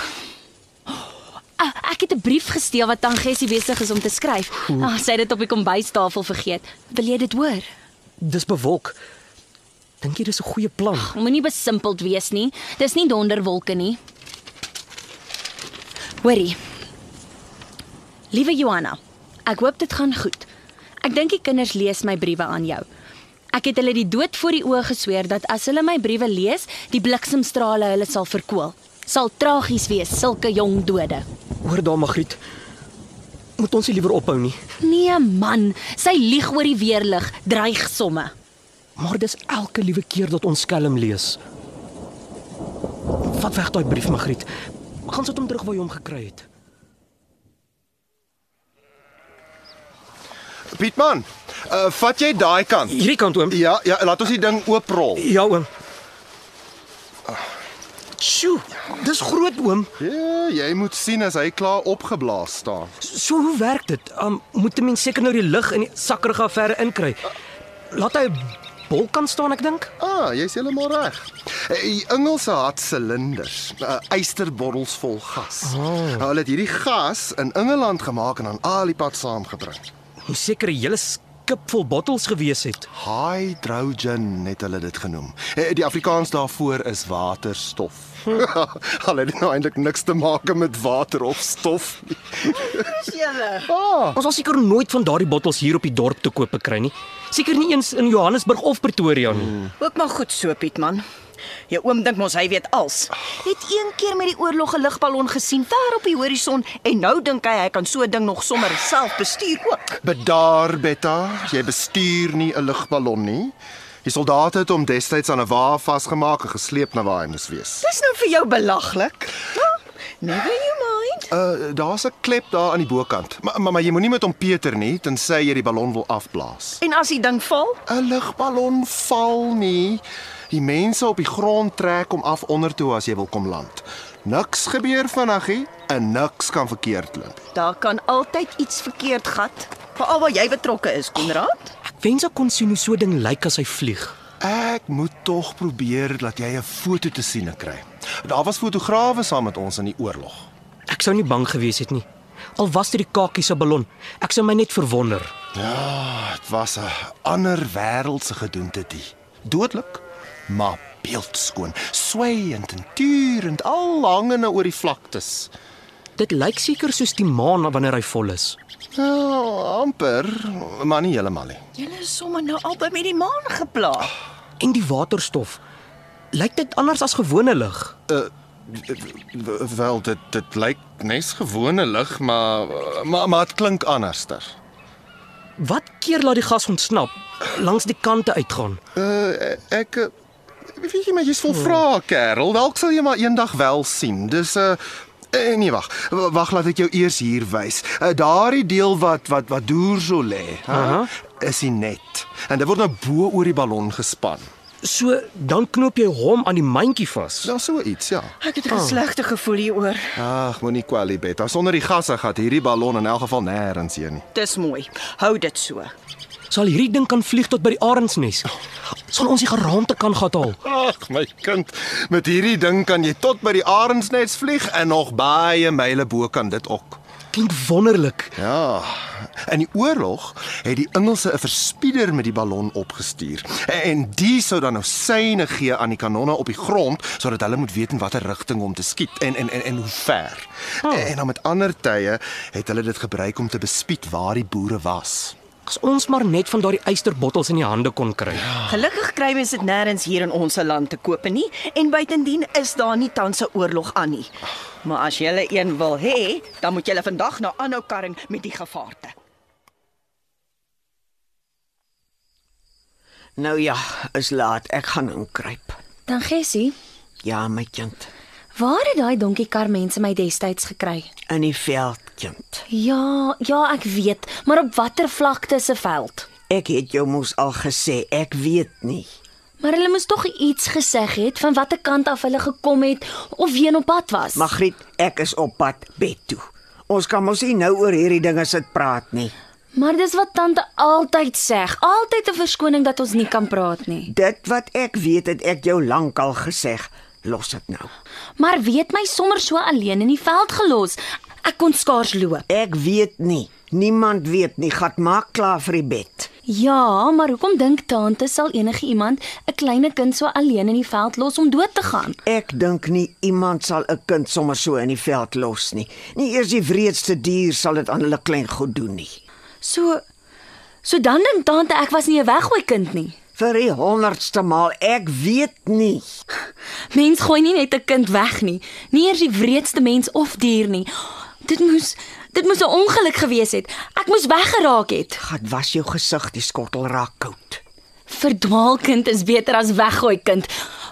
Speaker 4: Ah, Ek het 'n brief gesteel wat aan Gessie besig is om te skryf. Ah, sy het dit op die kombuistafel vergeet. Wil jy dit hoor?
Speaker 2: Dis bewolk. Dink jy dis 'n goeie plan?
Speaker 4: Moenie besimpeld wees nie. Dis nie donderwolke nie. Hoorie. Liewe Johanna, ek hoop dit gaan goed. Ek dink die kinders lees my briewe aan jou. Ek het hulle die dood voor die oë gesweer dat as hulle my briewe lees, die bliksemstrale hulle sal verkoel. Sal tragies wees sulke jong dode.
Speaker 2: Hoor daar Magriet. Moet ons nie liewer ophou nie.
Speaker 4: Nee man, sy lieg oor die weerlig, dreig somme.
Speaker 2: Maar dis elke liewe keer dat ons skelm lees. Vat weg daai brief Magriet. Gaan sit hom terug waar jy hom gekry het.
Speaker 5: Pietman, uh, vat jy daai kant?
Speaker 2: Hierdie kant oom.
Speaker 5: Ja, ja, laat ons die ding ooprol.
Speaker 2: Ja oom. Sjoe, dis groot oom.
Speaker 5: Ja, jy moet sien as hy klaar opgeblaas staan.
Speaker 2: So hoe werk dit? Um moet 'n mens seker nou die lig in die sakkerige affære inkry. Laat hy 'n bol kan staan ek dink.
Speaker 5: Ah, jy's heeltemal reg. Eh, Die Engelse het silinders, uh, eysterbottels vol gas. Oh. Nou, hulle het hierdie gas in Engeland gemaak en aan al die pad saamgebring.
Speaker 2: Hoe seker 'n hele skip vol bottels gewees het.
Speaker 5: Hydrogen het hulle dit genoem. Eh, Die Afrikaans daarvoor is waterstof. hulle het nou eintlik niks te maak met water of stof nie.
Speaker 6: Julle.
Speaker 2: Ons sal seker nooit van daardie bottels hier op die dorp te koop kry nie. Seker nie eens in Johannesburg of Pretoria nie. Hmm.
Speaker 6: Ook maar goed so, Pietman. Jou oom dink mos hy weet als. Het een keer met die oorlog 'n ligballon gesien ver op die horison en nou dink hy hy kan so 'n ding nog sommer self bestuur ook.
Speaker 5: Bedaar Betta, jy bestuur nie 'n lugballon nie. Die soldate het hom destyds aan 'n wa vasgemaak en gesleep na waar hy moes wees.
Speaker 6: Dis nou vir jou belaglik. Huh? Never you mind.
Speaker 5: Uh daar's 'n klep daar aan die bokant. Maar maar, maar jy moenie met hom Peter nie, tensy jy die ballon wil afblaas.
Speaker 6: En as die ding val,
Speaker 5: 'n Lugballon val nie. Die mense op die grond trek hom af ondertoe as jy wil kom land. Niks gebeur vanaggie en niks kan verkeerd loop.
Speaker 6: daar kan altyd iets verkeerd gat, veral waar jy betrokke is, Konrad.
Speaker 2: Ek wens ek kon sien hoe so 'n ding lyk as hy vlieg.
Speaker 5: Ek moet tog probeer dat jy 'n foto te sien kry. Daar was fotograwe saam met ons in die oorlog.
Speaker 2: Ek sou nie bang gewees het nie. Al was dit die kakie se ballon, ek sou my net verwonder.
Speaker 5: Ja, dit was 'n ander wêreldse gedoente die. Dodelik, maar beeldskoon, swaaiend en turend al hangende oor die vlaktes.
Speaker 2: Dit lyk seker soos die maan wanneer hy vol is.
Speaker 5: Ja, amper, maar nie heeltemal nie.
Speaker 6: Julle is sommer nou albei met die maan geplaag.
Speaker 2: En die waterstof. Lyk dit anders as gewone lig?
Speaker 5: W- Wel, dit dit lyk nes gewone lig, maar maar maar dit klink anderster.
Speaker 2: Wat keer laat die gas ontsnap langs die kante uitgaan?
Speaker 5: Uh ek eh, weet jy maar jy's vol vrae, kerel. Dalk sal jy maar eendag wel sien. Dis 'n uh, nee wag. W- Wag laat ek jou eers hier wys. Uh, Daardie deel wat wat wat deur so lê,
Speaker 2: Aha.
Speaker 5: huh, is die net. En dit word nou bo oor die ballon gespan.
Speaker 2: So dan knoop jy hom aan die mandjie vas.
Speaker 5: Daar's so iets, ja.
Speaker 6: Ek het 'n oh. slegte gevoel hieroor.
Speaker 5: Ag, moenie kwali beta. Sonder die gasse gaan hierdie ballon in elk geval nêrens heen nie.
Speaker 6: Dis mooi. Hou dit so.
Speaker 2: Sal hierdie ding kan vlieg tot by die arendsnes. sal ons die geraamte kan gat haal.
Speaker 5: Ag, my kind, met hierdie ding kan jy tot by die arendsnets vlieg en nog baie myle bo kan dit ook.
Speaker 2: Klink wonderlik.
Speaker 5: Ja. In die oorlog het die Engelse 'n verspieder met die ballon opgestuur en die sou dan nou syne gee aan die kanonne op die grond sodat hulle moet weet in watter rigting om te skiet en en en, en hoe ver. Oh. En dan met ander tye het hulle dit gebruik om te bespied waar die boere was.
Speaker 2: As ons maar net van daardie eysterbottels in die hande kon kry.
Speaker 6: Gelukkig kry mens dit nêrens hier in ons land te koop nie en buitendien is daar nie tans 'n oorlog aan nie. Maar as jy een wil hê, dan moet jy vandag na aanhou karring met die gevaarte.
Speaker 3: Nou ja, is laat. Ek gaan inkruip.
Speaker 4: Dan Gessie,
Speaker 3: Ja, my kind.
Speaker 4: waar het daai donkiekar mense my destyds gekry?
Speaker 3: In die veld, kind.
Speaker 4: Ja, ja, ek weet, maar op watter vlakte se veld?
Speaker 3: Ek het jou mos al gesê, ek weet nie.
Speaker 4: Maar hulle moes tog iets geseg het van watter kant af hulle gekom het of wie op pad was.
Speaker 3: Magriet, ek is op pad bed toe. Ons kan mos nie nou oor hierdie dinge sit praat nie.
Speaker 4: maar dis wat tante altyd sê, altyd 'n verskoning dat ons nie kan praat nie.
Speaker 3: Dit wat ek weet, het ek jou lankal gesê. Los dit nou.
Speaker 4: Maar weet my sommer so alleen in die veld gelos. Ek kon skaars loop.
Speaker 3: Ek weet nie. Niemand weet nie. Gat maak klaar vir die bed.
Speaker 4: Ja, maar hoekom dink tante sal enige iemand 'n klein kind so alleen in die veld los om dood te gaan?
Speaker 3: Ek dink nie iemand sal 'n kind sommer so in die veld los nie. Nie eers die wreedste dier sal dit aan hulle klein goed doen nie.
Speaker 4: So So dan dink tante ek was nie 'n weggooi kind nie.
Speaker 3: Vir die honderdste maal, ek weet nie.
Speaker 4: Mens gooi nie net 'n kind weg nie, nie eers die wreedste mens of dier nie. Dit moes dit moes 'n ongeluk gewees het. Ek moes weggeraak het.
Speaker 3: Gat was jou gesig, die skottel raak koud.
Speaker 4: Verdwaal kind is beter as weggooi kind.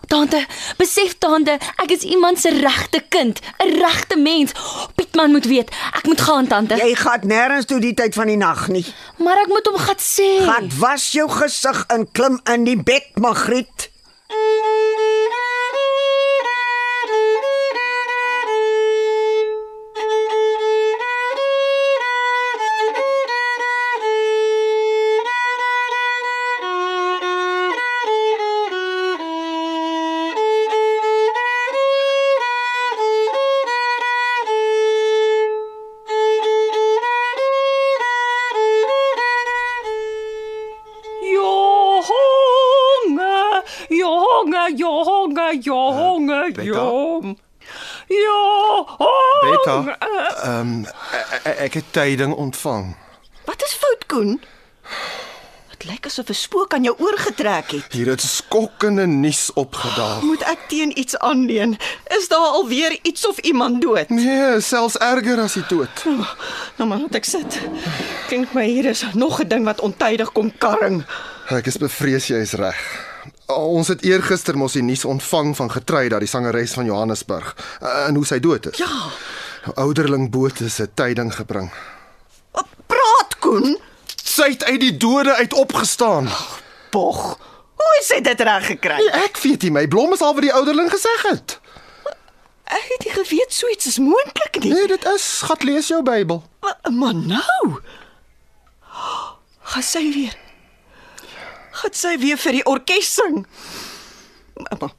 Speaker 4: Tante, besef tante, ek is iemand se regte kind, 'n regte mens. Pietman moet weet, ek moet gaan tante.
Speaker 3: Jy gaan nêrens toe die tyd van die nag nie.
Speaker 4: Maar ek moet hom gat sê.
Speaker 3: Gat was jou gesig en klim in die bed, Magriet.
Speaker 7: Jonge, jonge, jonge,
Speaker 6: Eh.
Speaker 7: jonge,
Speaker 5: Betta?
Speaker 7: jong. Jonge.
Speaker 5: Beta, ehm um, ek het tyding ontvang.
Speaker 6: Wat is fout, Koen? Dit lyk asof 'n spook aan jou oorgetrek het.
Speaker 5: Hier het skokkende nuus opgedaag.
Speaker 6: Moet ek teen iets aanleen? Is daar alweer iets of iemand dood?
Speaker 5: Nee, selfs erger as die dood.
Speaker 6: Nou maar, laat ek sit. Klink my hier is nog 'n ding wat ontydig kom karring.
Speaker 5: Ek is bevrees jy is reg. Ons het eergister mos die nuus ontvang van getrei dat die sangeres van Johannesburg eh, en hoe sy dood is.
Speaker 6: Ja.
Speaker 5: Ouderling Botha se tyding gebring.
Speaker 6: Wat praat, Koen?
Speaker 5: Sy het uit die dode uit opgestaan.
Speaker 6: Bog. Hoe is hy dit reg gekry?
Speaker 5: Ek weet nie, my blom is al wat die ouderling gesê het.
Speaker 6: Ek het nie geweet so iets is moontlik nie.
Speaker 5: Nee, dit is, gat lees jou Bybel.
Speaker 6: Maar, maar nou. Gaan sy weer. Gaan sy weer vir die orkes sing. Maar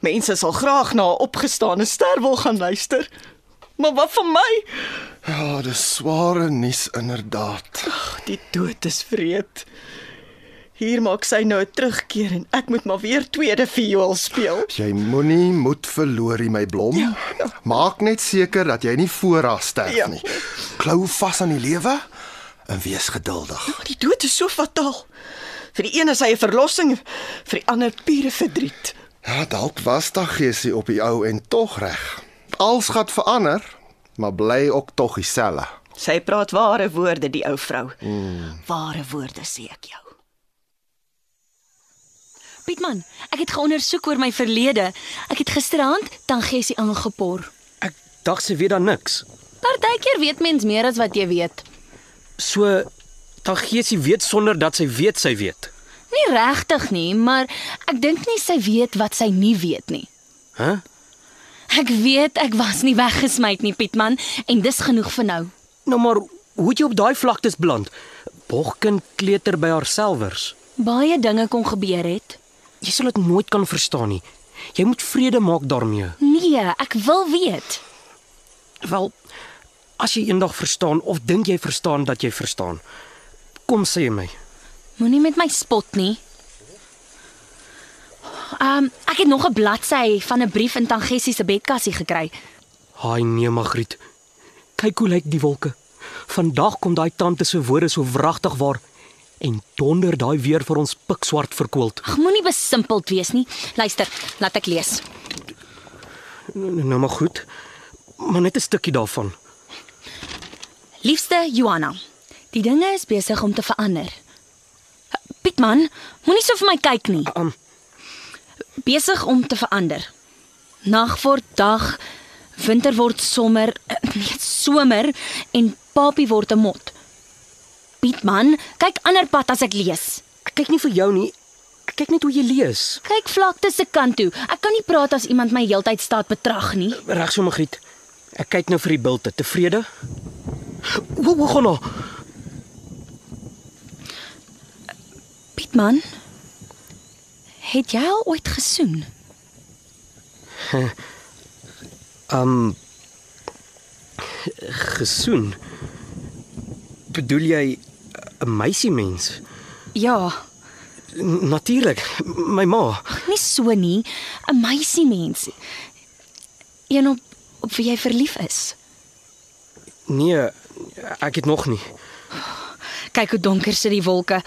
Speaker 6: Mense sal graag na 'n opgestane ster wil gaan luister. Maar wat van my?
Speaker 5: Ja, dis sware nuus inderdaad.
Speaker 6: Ag, die dood is vreed. Hier maak sy nou 'n terugkeer en ek moet maar weer tweede viool speel.
Speaker 5: Jy moenie moed verloor nie, my blom.
Speaker 6: Ja, ja.
Speaker 5: Maak net seker dat jy nie voor haar sterf
Speaker 6: Ja.
Speaker 5: nie. Klou vas aan die lewe en wees geduldig.
Speaker 6: Maar die dood is so fataal. Vir die een is hy 'n verlossing, vir die ander pure verdriet.
Speaker 5: Ja, dalk was daar geesie op die ou en tog reg. Als gat verander, maar bly ook tog dieselfde.
Speaker 6: Sy praat ware woorde die ou vrou. Mm. Ware woorde sê ek jou.
Speaker 4: Pietman, ek het geondersoek oor my verlede. Ek het gisterand Tangessie aangepor.
Speaker 2: Ek dink sy weet dan niks.
Speaker 4: Partykeer weet mens meer as wat jy weet.
Speaker 2: So Tagiesie weet sonder dat sy weet sy weet.
Speaker 4: Nie regtig nie, maar ek dink nie sy weet wat sy nie weet nie.
Speaker 2: Hæ? Huh?
Speaker 4: Ek weet ek was nie weggesmy nie, Pietman, en dis genoeg vir nou.
Speaker 2: Nou maar hoe het jy op daai vlaktes beland? Bogkin kleuter by haarselfers.
Speaker 4: Baie dinge kon gebeur het.
Speaker 2: Jy sal dit nooit kan verstaan nie. Jy moet vrede maak daarmee.
Speaker 4: Nee, ek wil weet.
Speaker 2: Wel, as jy eendag verstaan of dink jy verstaan dat jy verstaan, kom sê my.
Speaker 4: Moenie met my spot nie. Ehm, um, ek het nog 'n bladsy van 'n brief in Tangessie se bedkassie gekry.
Speaker 2: Haai nee, Magriet. Kyk hoe lyk die wolke. Vandag kom daai tante se woorde so wragtig waar en donder daai weer vir ons pikswart verkoeld.
Speaker 4: Ag, moenie besimpeld wees nie. Luister, laat ek lees.
Speaker 2: Nou nou, maar goed. Maar net 'n stukkie daarvan.
Speaker 4: Liefste Johanna, die dinge is besig om te verander. Pietman, moenie so vir my kyk nie.
Speaker 2: Um.
Speaker 4: Besig om te verander. Nag word dag, winter word sommer, nee, somer en papie word 'n mot. Pietman, kyk ander pad as ek lees.
Speaker 2: Ek kyk nie vir jou nie. Ek kyk net hoe jy lees.
Speaker 4: Kyk vlakte se kant toe. Ek kan nie praat as iemand my heeltyd staat betrag nie.
Speaker 2: Reg so, Magriet. Ek kyk nou vir die bilte. Tevrede? Wo wo gaan nou?
Speaker 4: Pietman, het jy al ooit gesoen?
Speaker 2: Um gesoen. Bedoel jy eh, 'n meisie mens?
Speaker 4: Ja,
Speaker 2: N- Natuurlik, my ma.
Speaker 4: nie so nie. 'n Meisie mens. Een op op wie jy verlief is.
Speaker 2: Nee, ek het nog nie.
Speaker 4: Kyk hoe donker sit die wolke.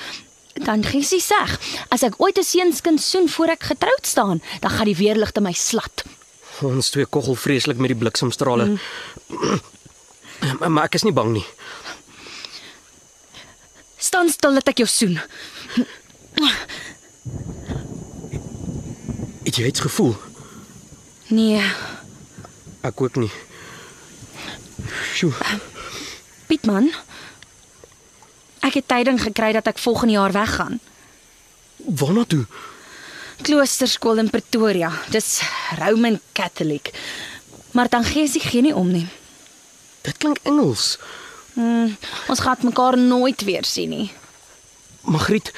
Speaker 4: Dan Gissie seg, as ek ooit 'n seunskind soen voor ek getroud staan, dan gaan die weerligte my slat.
Speaker 2: Ons twee koggel vreeslik met die bliksemstrale. Mm. Maar ek is nie bang nie.
Speaker 4: Staan stil dat ek jou soen.
Speaker 2: Het jy iets gevoel?
Speaker 4: Nee,
Speaker 2: Ek ook nie. Sjoe.
Speaker 4: Pietman. Ek het tyding gekry dat ek volgende jaar weggaan.
Speaker 2: Waarna toe?
Speaker 4: Kloosterskool in Pretoria. Dis Roman Catholic. Maar dan gee sy gee nie om nie.
Speaker 2: Dit klink Engels.
Speaker 4: Mm, ons gaan mekaar nooit weer sien nie.
Speaker 2: Magriet,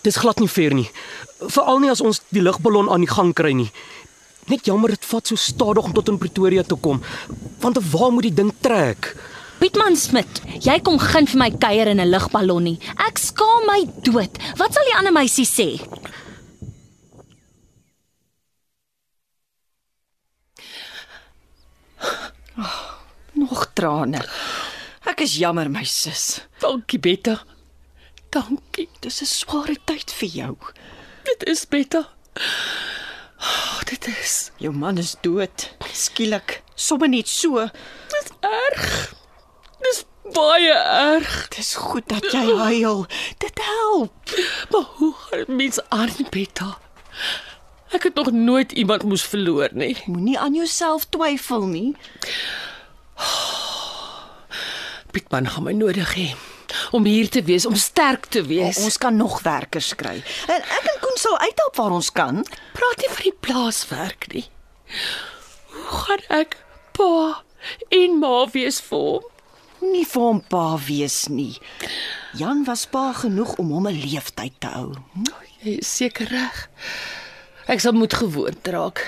Speaker 2: dis glad nie fair nie. Veral nie as ons die lugballon aan die gang kry nie. Net jammer dit vat so stadig om tot in Pretoria te kom, want waar moet die ding trek?
Speaker 4: Pietman Smit, jy kom gun vir my kuier in 'n lugballon nie. Ek skaam my dood. Wat sal die ander meisie sê?
Speaker 6: Nog trane. Ek is jammer my sis.
Speaker 7: Dankie Betta. Dankie.
Speaker 6: Dis 'n sware tyd vir jou.
Speaker 7: Dit is Betta. Oh, dit is
Speaker 6: Jou man is dood. Skielik, sommer net so.
Speaker 7: dis erg. Dis baie erg.
Speaker 6: Dis goed dat jy huil. Dit help.
Speaker 7: Maar hoe gaan mens aan Betta? Ek het nog nooit iemand moes verloor nie.
Speaker 6: Moenie aan jouself twyfel nie.
Speaker 7: Pietman gaan nou my nodig hê om hier te wees, om sterk te wees.
Speaker 6: Ons kan nog werkers kry. En ek en Koen sal uithelp waar ons kan.
Speaker 7: praat nie van die plaaswerk nie. Hoe gaan ek pa en ma wees vir hom?
Speaker 6: Nie vir hom pa wees nie. Jan was pa genoeg om hom 'n leeftyd te hou. Hm?
Speaker 7: Jy is seker reg. Ek sal moet gewoond raak.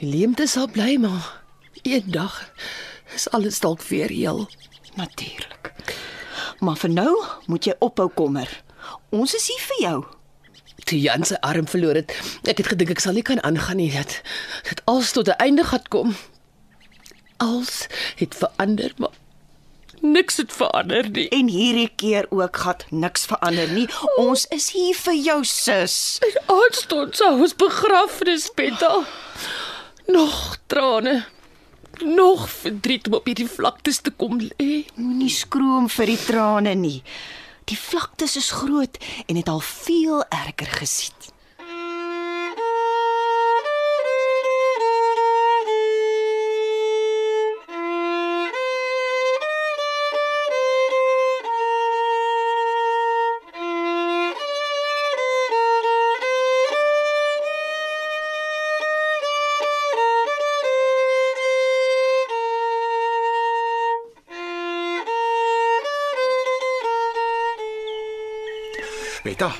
Speaker 7: Die leemte sal bly maar eendag is alles dalk weer heel.
Speaker 6: Natuurlik. Maar vir nou moet jy ophou kommer. Ons is hier vir jou.
Speaker 7: Toe Jan sy arm verloor het, ek het gedink ek sal nie kan aangaan nie dat dit als tot 'n einde gaan kom. Als het verander, maar niks het verander nie.
Speaker 6: En hierdie keer ook gat niks verander nie. Ons is hier vir jou sus.
Speaker 7: En aanstonds sou ons begrafnis betaal. Nog trane. Nog verdriet om op hierdie vlaktes te kom lê.
Speaker 6: Moenie skroom vir die trane nie. Die vlaktes is groot en het al veel erger gesien.
Speaker 5: Betta,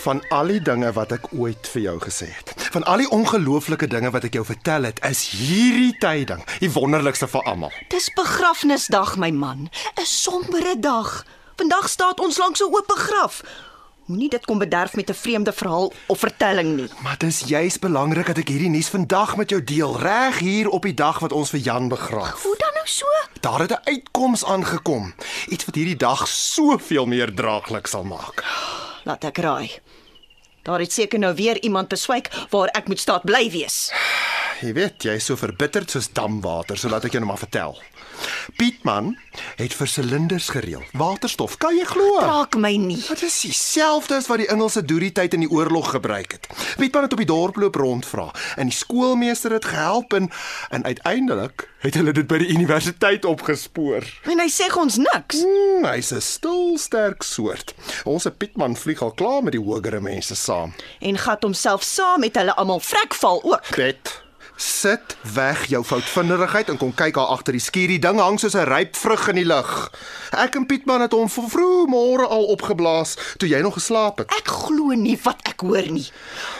Speaker 5: Van al die dinge wat ek ooit vir jou gesê het, van al die ongelooflike dinge wat ek jou vertel het, is hierdie tyding die wonderlikste vir almal.
Speaker 6: Dis begrafnisdag, my man. 'n Sombere dag. Vandag staan ons langs 'n oop graf. Moenie dit kom bederf met 'n vreemde verhaal of vertelling nie.
Speaker 5: Maar dit is juis belangrik dat ek hierdie nuus vandag met jou deel, reg hier op die dag wat ons vir Jan begraaf.
Speaker 4: Hoe dan nou so?
Speaker 5: Daar het 'n uitkoms aangekom, iets wat hierdie dag soveel meer draaglik sal maak.
Speaker 6: Laat ek raai. Daar het seker nou weer iemand beswyk waar ek moet staat bly wees.
Speaker 5: Jy weet, jy is so verbitterd soos damwater, so laat ek jou nou maar vertel. Pietman het vir silinders gereël. Waterstof, kan jy glo?
Speaker 6: Raak my nie.
Speaker 5: Wat is dieselfde as wat die Engelse doorie tyd in die oorlog gebruik het. Pietman het op die dorp loop rondvra en die skoolmeester het gehelp en en uiteindelik het hulle dit by die universiteit opgespoor.
Speaker 6: En hy sê ons niks.
Speaker 5: Hmm, hy's 'n stil, sterk soort. Ons Pietman vlieg al klaar met die hogere mense saam.
Speaker 6: En gat homself saam met hulle almal vrekval ook.
Speaker 5: Pet, sit weg jou foutvinderigheid en kom kyk haar agter die skuur. Die ding hang soos 'n ryp vrug in die lug. Ek en Pietman het hom van vroeg môre al opgeblaas toe jy nog geslaap het.
Speaker 6: Ek glo nie wat ek hoor nie.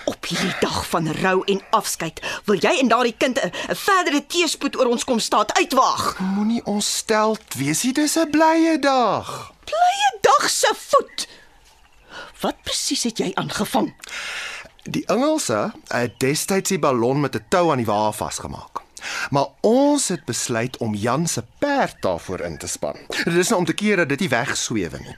Speaker 6: Op hierdie dag van rou en afskeid, wil jy en daardie kind 'n 'n verdere teespoed oor ons kom staat uitwaag.
Speaker 5: Moenie ons steld wees nie, dis 'n blye dag.
Speaker 6: Blye dag se voet. Wat presies het jy aangevang?
Speaker 5: Die Engelse het destyds die ballon met 'n tou aan die wa vasgemaak. Maar ons het besluit om Jan se perd daarvoor in te span. Dit is nou om te keer dat dit nie wegswewe nie.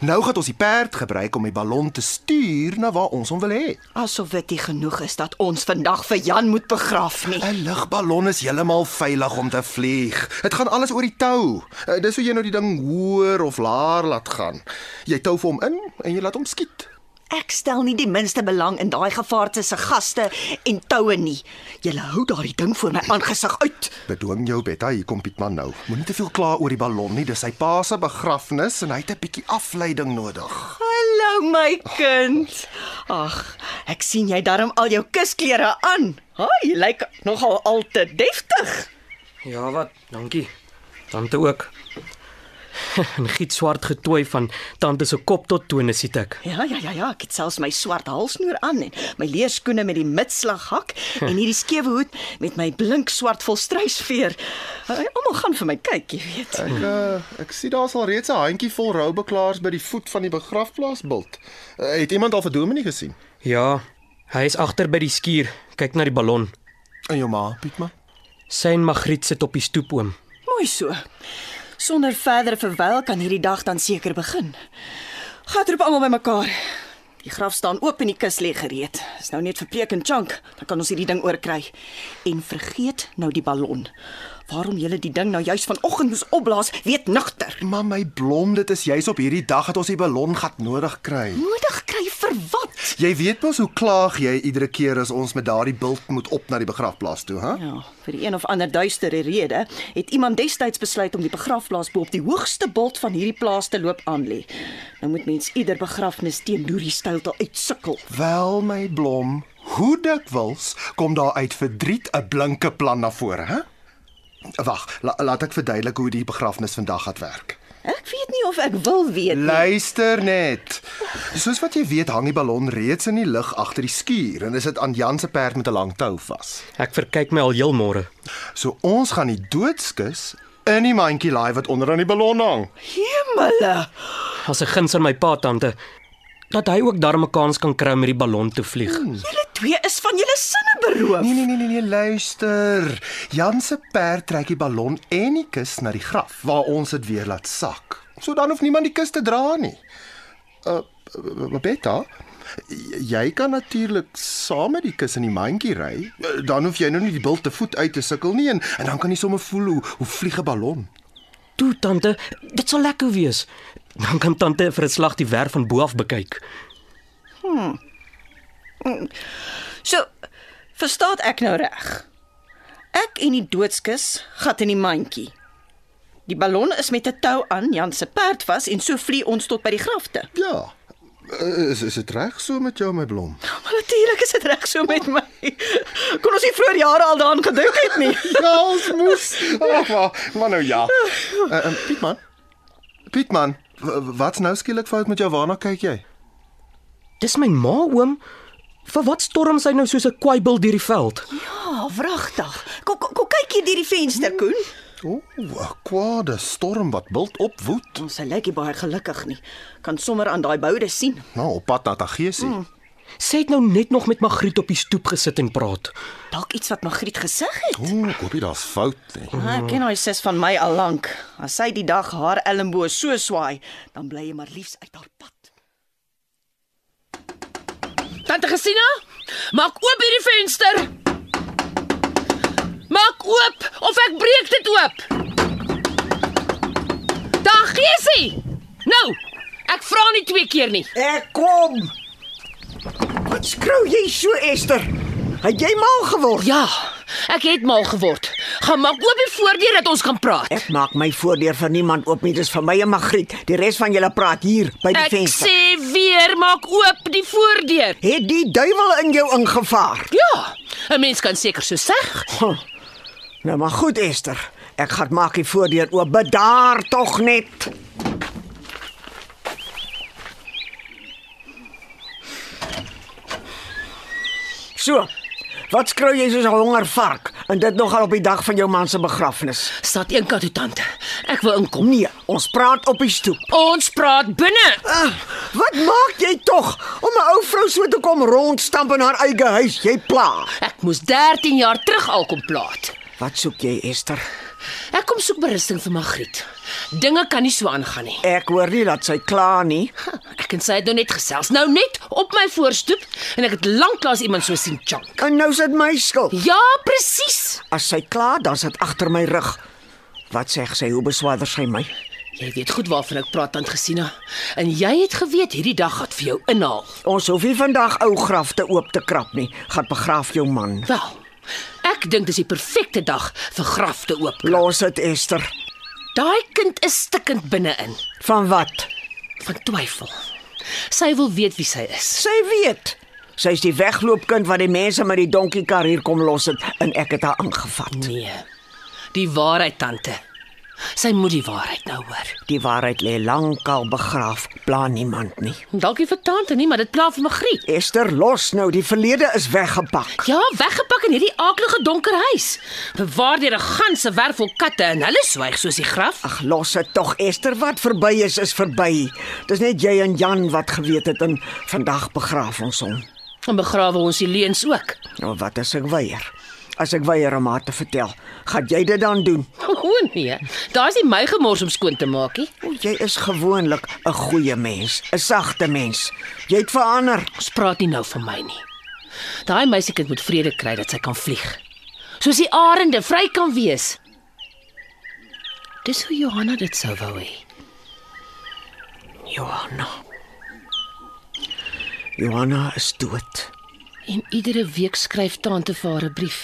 Speaker 5: Nou gaan ons die perd gebruik om die ballon te stuur na waar ons hom wil hê.
Speaker 6: Asof dit nie genoeg is dat ons vandag vir Jan moet begraf nie.
Speaker 5: 'n Lugballon is heeltemal veilig om te vlieg. Dit gaan alles oor die tou. Eh, Dis hoe jy nou die ding hoër of laer laat gaan. Jy tou vir hom in en jy laat hom skiet.
Speaker 6: Ek stel nie die minste belang in daai gevaarte se gaste en toue nie. Jy hou daardie ding voor my aangesig uit.
Speaker 5: Bedwing jou Betta, hier kom Pietman nou. Moenie te veel kla oor die ballon nie. Dis sy pa se begrafnis en hy het 'n bietjie afleiding nodig.
Speaker 6: Hallo my kind. Ag, ek sien jy darm al jou kusklere aan. Haai, jy lyk nogal al te deftig.
Speaker 2: Ja, wat? Dankie. Tante ook. 'n Giet swart getooi van tante se kop tot tone sit ek.
Speaker 6: Ja, ja, ja, ja, ek het selfs my swart halsnoor aan en my leerskoene met die mitslaghak en hierdie skewe hoed met my blink swart volstruisveer. Uh, Almal gaan vir my kyk, jy weet.
Speaker 5: Ek uh, ek sien daar's al reeds 'n handjievol roubeklaars by die voet van die begrafplaasbult. Uh, het iemand al vir Dominie gesien?
Speaker 2: Ja, hy is agter by die skuur. Kyk na die ballon.
Speaker 5: En jou ma, Pietman?
Speaker 2: Sy en Magriet sit op die stoep oom.
Speaker 6: Mooi so. Sonder verdere verwyl kan hierdie dag dan seker begin. Gat roep almal bymekaar. Die graf staan oop en die kus lê gereed. Is nou net vir preek en chunk, dan kan ons hierdie ding oorkry. En vergeet nou die ballon. Waarom julle die ding nou juis vanoggend moes opblaas, weet nigter.
Speaker 5: Maar my blom, dit is juis op hierdie dag dat ons die ballon gat nodig kry.
Speaker 6: Nodig kry vir wat?
Speaker 5: Jy weet mos hoe klaag jy iedere keer as ons met daardie bult moet op na die begrafplaas toe, hè?
Speaker 6: Ja, vir die een of ander duistere rede het iemand destyds besluit om die begrafplaas bo op die hoogste bult van hierdie plaas te loop aan lê. Nou moet mens ieder begrafnis teen Doorie Stylte uitsukkel.
Speaker 5: Wel my blom, hoe dikwels kom daar uit verdriet 'n blinke plan na vore, hè? Wag, la, laat ek verduidelik hoe die begrafnis vandag gaan werk.
Speaker 6: Ek weet nie of ek wil weet nie.
Speaker 5: Luister net. Soos wat jy weet, hang die ballon reeds in die lug agter die skuur en is dit aan Jan se perd met 'n lang tou vas.
Speaker 2: Ek verkyk my al heel môre.
Speaker 5: So ons gaan die doodskus in die mandjie laai wat onder aan die ballon hang.
Speaker 6: Hemele.
Speaker 2: As 'n guns aan my pa tante dat hy ook darm 'n kans kan kry om met die ballon te vlieg.
Speaker 6: Julle twee is van julle sinne beroof.
Speaker 5: Nee nee nee nee nee luister. Jan se perd trek die ballon en die kus na die graf waar ons dit weer laat sak. So dan hoef niemand die kus te dra nie. Uh Beta, j- jy kan natuurlik saam met die kus in die mandjie ry. Eh, Dan hoef jy nou nie die bult te voet uit te sukkel nie en, en dan kan jy sommer voel hoe hoe vlieg 'n ballon.
Speaker 2: Toe tante, dit sal lekker wees. Dan kan tante vir 'n slag die werf van bo af bekyk.
Speaker 6: So, verstaan ek nou reg? Ek en die doodskus gat in die mandjie. Die ballon is met 'n tou aan Jan se perd vas en so vlieg ons tot by die grafte.
Speaker 5: Ja. Eh, Is is dit reg so met jou my blom?
Speaker 6: Maar natuurlik is dit reg so met my. Kon ons nie vroeër jare al daaraan gedink het nie.
Speaker 5: Ja, ons moes. Ag, maar, maar nou ja. Uh, uh, Pietman. Pietman, w- w- wat's nou skielik fout met jou? Waarna kyk jy?
Speaker 2: Dis my ma, oom. Vir wat storm sy nou soos 'n kwaibil deur die veld?
Speaker 6: Ah, oh, wragtig. Kom kom kom kyk hier deur die venster, Koen.
Speaker 5: O, 'n kwade storm wat bult opwoed,
Speaker 6: Ons lyk nie baie gelukkig nie. Kan sommer aan daai boude sien.
Speaker 5: nou op pad na Tagesi. Mm.
Speaker 2: Sy het nou net nog met Magriet op die stoep gesit en praat.
Speaker 6: Dalk iets wat Magriet gesig het.
Speaker 5: O, ek hoop nie daar's fout nie.
Speaker 6: Ah, Ek ken haar sis van my al lank. As sy die dag haar elmboog so swaai, dan bly jy maar liefs uit haar pad.
Speaker 7: Tante Gesina, maak oop hierdie venster. Maak oop of ek breek dit oop. Daar geesie. Nou, ek vra nie twee keer nie.
Speaker 3: Ek kom. Wat skrou jy so, Esther? Het jy mal geword?
Speaker 7: Ja, ek het mal geword. Gaan maak oop die voordeur dat ons kan praat.
Speaker 3: Ek maak my voordeur vir niemand oop nie, dis vir my en Magriet. Die res van julle praat hier by die
Speaker 7: Ek
Speaker 3: venster.
Speaker 7: sê weer, maak oop die voordeur.
Speaker 3: Het die duiwel in jou ingevaar?
Speaker 7: Ja, 'n mens kan seker so seg.
Speaker 3: Nou maar goed, Esther. Ek gaan maak die voordeur oop. Bedaar tog net. So. Wat skrou jy soos 'n honger vark en dit nogal op die dag van jou man se begrafnis?
Speaker 7: Staat een kant toe tante. Ek wil inkom.
Speaker 3: Nee, ons praat op die stoep.
Speaker 7: Ons praat binne.
Speaker 3: Ah, wat maak jy tog om 'n ou vrou so te kom rondstamp in haar eie huis? Jy pla.
Speaker 7: Ek moes 13 jaar terug al kom plaat.
Speaker 3: Wat soek jy, Esther?
Speaker 7: Ek kom soek berusting vir Magriet. Dinge kan nie so aangaan nie.
Speaker 3: Ek hoor nie dat sy kla nie.
Speaker 7: Ek en sy het nou net gesels, nou net op my voorstoep en ek het lanklaas iemand so sien chunk.
Speaker 3: En nou is dit my skuld.
Speaker 7: Ja, presies.
Speaker 3: As sy klaar, dan sit agter my rug. Wat sê sy? Hoe beswaarder sy my?
Speaker 7: Jy weet goed waarvan ek praat tant Gesina. En jy het geweet hierdie dag gaan vir jou inhaal.
Speaker 3: Ons hoef nie vandag ou grafte oop te krap nie. Gaan begraaf jou man.
Speaker 7: Wel. Ek dink dis die perfekte dag vir graf te oop.
Speaker 3: Los dit, Esther.
Speaker 7: Daai kind is stikkend binne-in
Speaker 3: Van wat?
Speaker 7: van twyfel. Sy wil weet wie sy is.
Speaker 3: Sy weet. Sy is die wegloopkind wat die mense met die donkiekar hier kom los het en ek het haar aangevat.
Speaker 7: Nee. Die waarheid tante. Sy moet die waarheid nou hoor.
Speaker 3: Die waarheid lê lankal begraaf, pla niemand nie.
Speaker 7: Dalk nie vir tante nie, maar dit pla vir Magriet.
Speaker 3: Esther, los nou, die verlede is weggepak.
Speaker 7: Ja, weggepak in hierdie aaklige donker huis. Bewaar deur 'n ganse werf vol katte en hulle swyg soos die graf.
Speaker 3: Ag, los dit tog, Esther, wat verby is, is verby. Dis net jy en Jan wat geweet het en vandag begraaf ons hom.
Speaker 7: En begrawe ons die leuns ook.
Speaker 3: Nou wat as ek weier? As ek weier om haar te vertel, gaan jy dit dan doen?
Speaker 7: O nee, daar's nie my gemors om skoon te maak nie.
Speaker 3: O, jy is gewoonlik 'n goeie mens, 'n sagte mens. Jy het verander.
Speaker 7: Ons praat nie nou van my nie. Daai meisiekind moet vrede kry dat sy kan vlieg. Soos die arende vry kan wees. Dis hoe Johanna dit sou wou hê.
Speaker 3: Johanna. Johanna is dood.
Speaker 7: En iedere week skryf tante vir haar 'n brief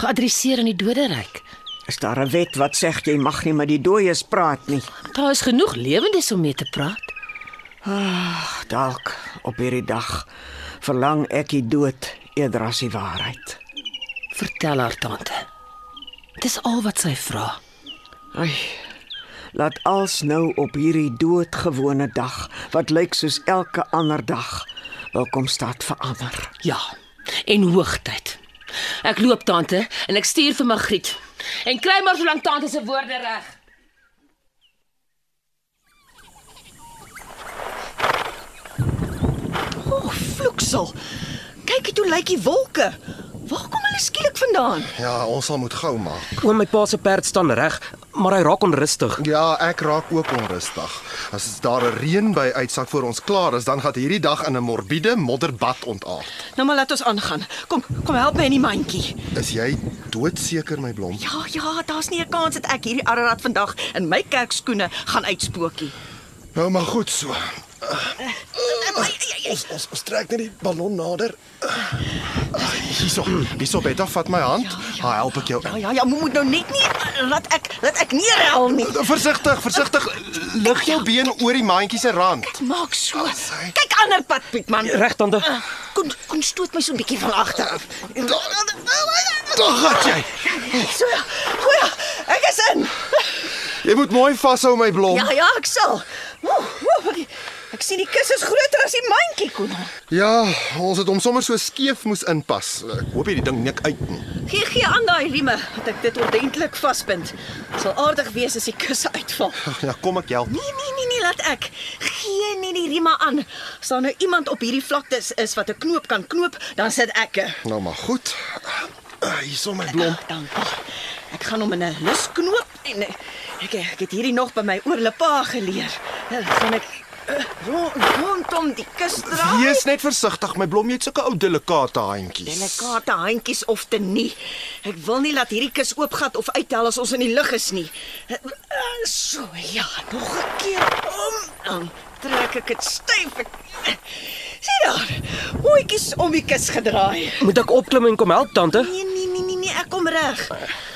Speaker 7: geadresseer aan die doderyk.
Speaker 3: Is daar 'n wet wat sê jy mag nie met die dooies praat nie?
Speaker 7: Daar is genoeg lewendes om mee te praat.
Speaker 3: Ag, Ah, dalk op hierdie dag verlang ek die dood eerder as die waarheid.
Speaker 7: Vertel haar tante. Dis al wat sy vra.
Speaker 3: Ai. Laat als nou op hierdie doodgewone dag wat lyk soos elke ander dag welkom staat verander.
Speaker 7: Ja. En hoogtyd. Ek loop tante en ek stuur vir Magriet. En kry maar solank tante se woorde reg.
Speaker 6: O, oh, vloeksel. Kyk hoe lyk die wolke. Waar kom hulle skielik vandaan?
Speaker 5: Ja, ons sal moet gou maak.
Speaker 2: Oom my pa se perd staan reg, maar hy raak onrustig.
Speaker 5: Ja, ek raak ook onrustig. As daar 'n reënby uitsak voor ons klaar is, dan gaan hierdie dag in 'n morbiede modderbad ontaard.
Speaker 6: Nou maar laat ons aangaan. Kom, kom help my in die mandjie.
Speaker 5: Is jy doodseker my blom?
Speaker 6: Ja, ja, daar's nie 'n kans dat ek hierdie Ararat vandag in my kerkskoene gaan uitspookie.
Speaker 5: Nou maar goed so.
Speaker 6: Ai, ai, ai, ai.
Speaker 5: Ons ons, ons trek net die ballon nader. Hierso, hierso Betta, vat my hand. Ha, help ek jou
Speaker 6: Ja,
Speaker 5: in.
Speaker 6: ja, ja, moet moet nou net nie laat ek laat ek nie rel nie.
Speaker 5: Versigtig, versigtig. Lig jou been oor die maandjie se rand.
Speaker 6: Maak so. Ja. Kyk ander pad, Piet man.
Speaker 2: Reg tante.
Speaker 6: Kom, kom stoot my so 'n bietjie van agter af. ja.
Speaker 5: Daar gat jy.
Speaker 6: So ja. Goeie. Ek is in.
Speaker 5: Jy moet mooi vashou my blom.
Speaker 6: Ja ja, ek sal. Oeh, oeh, Ek Ek sien die kus is groter as die mandjie, Konna.
Speaker 5: Ja, ons het hom sommer so skeef moes inpas. Ek hoop hierdie ding nik uit nie.
Speaker 6: Gee gee aan daai rieme dat ek dit ordentlik vaspind. Sal aardig wees as die kusse uitval.
Speaker 5: Ag, Ja, kom ek help.
Speaker 6: Nee nee nee nee, laat ek. Gee nie die rieme aan. As daar nou iemand op hierdie vlakte is, is wat 'n knoop kan knoop, dan sit ek.
Speaker 5: Nou maar goed. Ah, Hier is my blom.
Speaker 6: Ag, dankie. Ek gaan hom in 'n lus knoop en eh, ek ek het hierdie nog by my oorlepa geleer. Nou gaan ek eh, rond, rondom die kus draai.
Speaker 5: Wees net versigtig, my blom, jy het sulke ou delikate handjies.
Speaker 6: Delikate handjies of te nie. Ek wil nie laat hierdie kus oopgat of uittel as ons in die lug is nie. Eh, eh, So ja, nog 'n keer om. Dan trek ek dit styf. Ek- Sien daar. Ooitjies om die kus gedraai.
Speaker 2: Moet ek opklim en kom help tante?
Speaker 6: Nee, nee, nee, nee, nee, ek kom reg.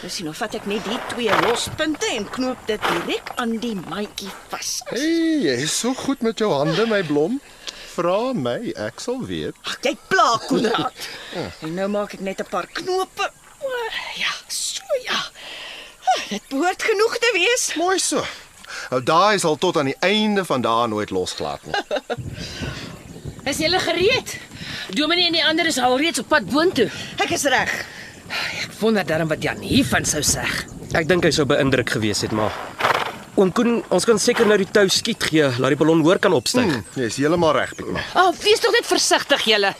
Speaker 6: Nou sien, nou vat ek net die twee lospunte en knoop dit direk aan die mandjie vas.
Speaker 5: Hey, jy is so goed met jou hande, my blom. Vra my, ek sal weet.
Speaker 6: Ag, jy pla Konrad. En nou maak ek net 'n paar knope. O, Ja, so ja. Ah, Dit behoort genoeg te wees.
Speaker 5: Mooi so. Nou daai sal tot aan die einde van daai nooit losgelaat nie.
Speaker 7: Is julle gereed? Dominee en die ander is al reeds op pad boontoe.
Speaker 6: Ek is reg.
Speaker 7: Ek wonder darm wat Jan hiervan sou sê.
Speaker 2: Ek dink hy sou beïndruk gewees het, maar Oom Koen, ons kan seker nou die tou skiet gee, laat die ballon hoër kan opstyg.
Speaker 5: Hm, Jy's heeltemal reg, Pietma.
Speaker 7: O, oh, wees tog net versigtig julle.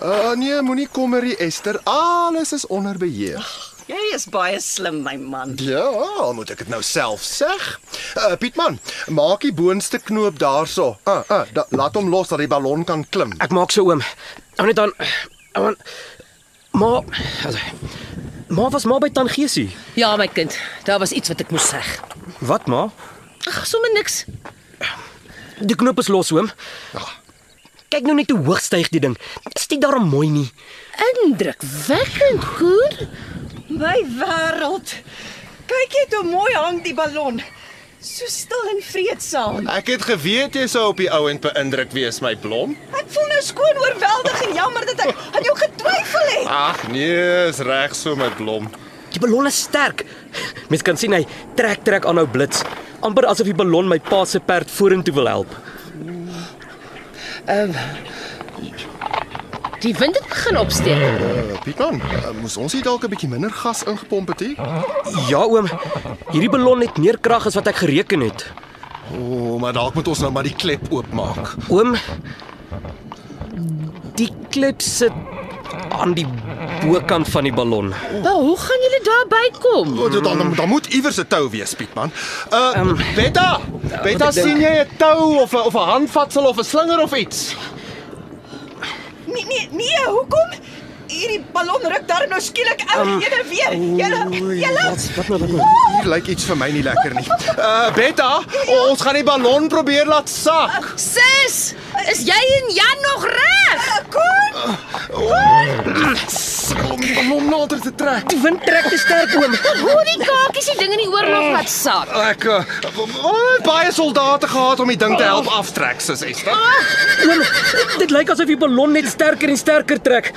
Speaker 5: Uh nee, moenie kommerie Esther. Alles is onder beheer.
Speaker 6: Jy is baie slim, my man.
Speaker 5: Ja, al moet ek dit nou self seg. Uh Pietman, maak die boonste knoop daarso. Uh uh da, laat hom los dat die ballon kan klim.
Speaker 2: Ek maak so oom. Hou net aan. Hou aan. Ma, also, ma was maar by Tangiesie.
Speaker 7: Ja, my kind, daar was iets wat ek moes sê.
Speaker 2: Wat ma?
Speaker 7: Ag, sommer niks.
Speaker 2: Die knop is los oom. Kyk nou net hoe hoog styg die ding. Is dit daarom mooi nie?
Speaker 7: Indrukwekkend, goed.
Speaker 6: My wêreld. Kyk net hoe mooi hang die ballon. So stil en vreedsaam.
Speaker 5: Ek het geweet jy sou op die ou end beïndruk wees, my blom.
Speaker 6: Ek voel nou skoon oorweldig en jammer dat ek aan jou getwyfel het.
Speaker 5: Ag nee, is reg so my blom.
Speaker 2: Die ballon is sterk. Mens kan sien hy trek trek aanhou blits, amper asof die ballon my pa se perd vorentoe wil help.
Speaker 7: Die wind het begin opsteek.
Speaker 5: Uh, Pietman, uh, moes ons nie dalk 'n bietjie minder gas ingepomp het nie?
Speaker 2: Ja oom, hierdie ballon het meer krag as wat ek gereken het.
Speaker 5: O, oh, maar dalk moet ons nou maar die klep oopmaak.
Speaker 2: Oom, die klip sit aan die bokant van die ballon.
Speaker 7: Maar hoe gaan julle daar bykom?
Speaker 5: O, dan dan, dan moet iewers 'n tou wees, Pietman. Uh um,
Speaker 6: Ehm,
Speaker 5: Betta,
Speaker 6: ja,
Speaker 5: Betta
Speaker 2: ek dink-
Speaker 5: sien jy 'n tou of 'n of 'n handvatsel of 'n slinger of iets?
Speaker 6: Nee nee nee, hoekom? Hierdie ballon ruk daar nou skielik uit
Speaker 5: Ehm,
Speaker 6: um, ene weer. Julle julle Ah!
Speaker 2: wat nou wat nou?
Speaker 5: Hier lyk iets vir my nie lekker nie. Uh Betta,
Speaker 6: Ja.
Speaker 5: o, ons gaan die ballon probeer laat sak.
Speaker 7: Sis, is jy en Jan nog reg?
Speaker 6: kon Ah,
Speaker 5: Sukkel om die ballon nader te trek.
Speaker 2: Die wind trek te sterk oom.
Speaker 7: Hoe die kakies die ding in die oorlog laat sak.
Speaker 5: Ek uh, oh, baie soldate gehad om die ding te help aftrek, sis Esther.
Speaker 2: Oom, dit lyk asof die ballon net sterker en sterker trek.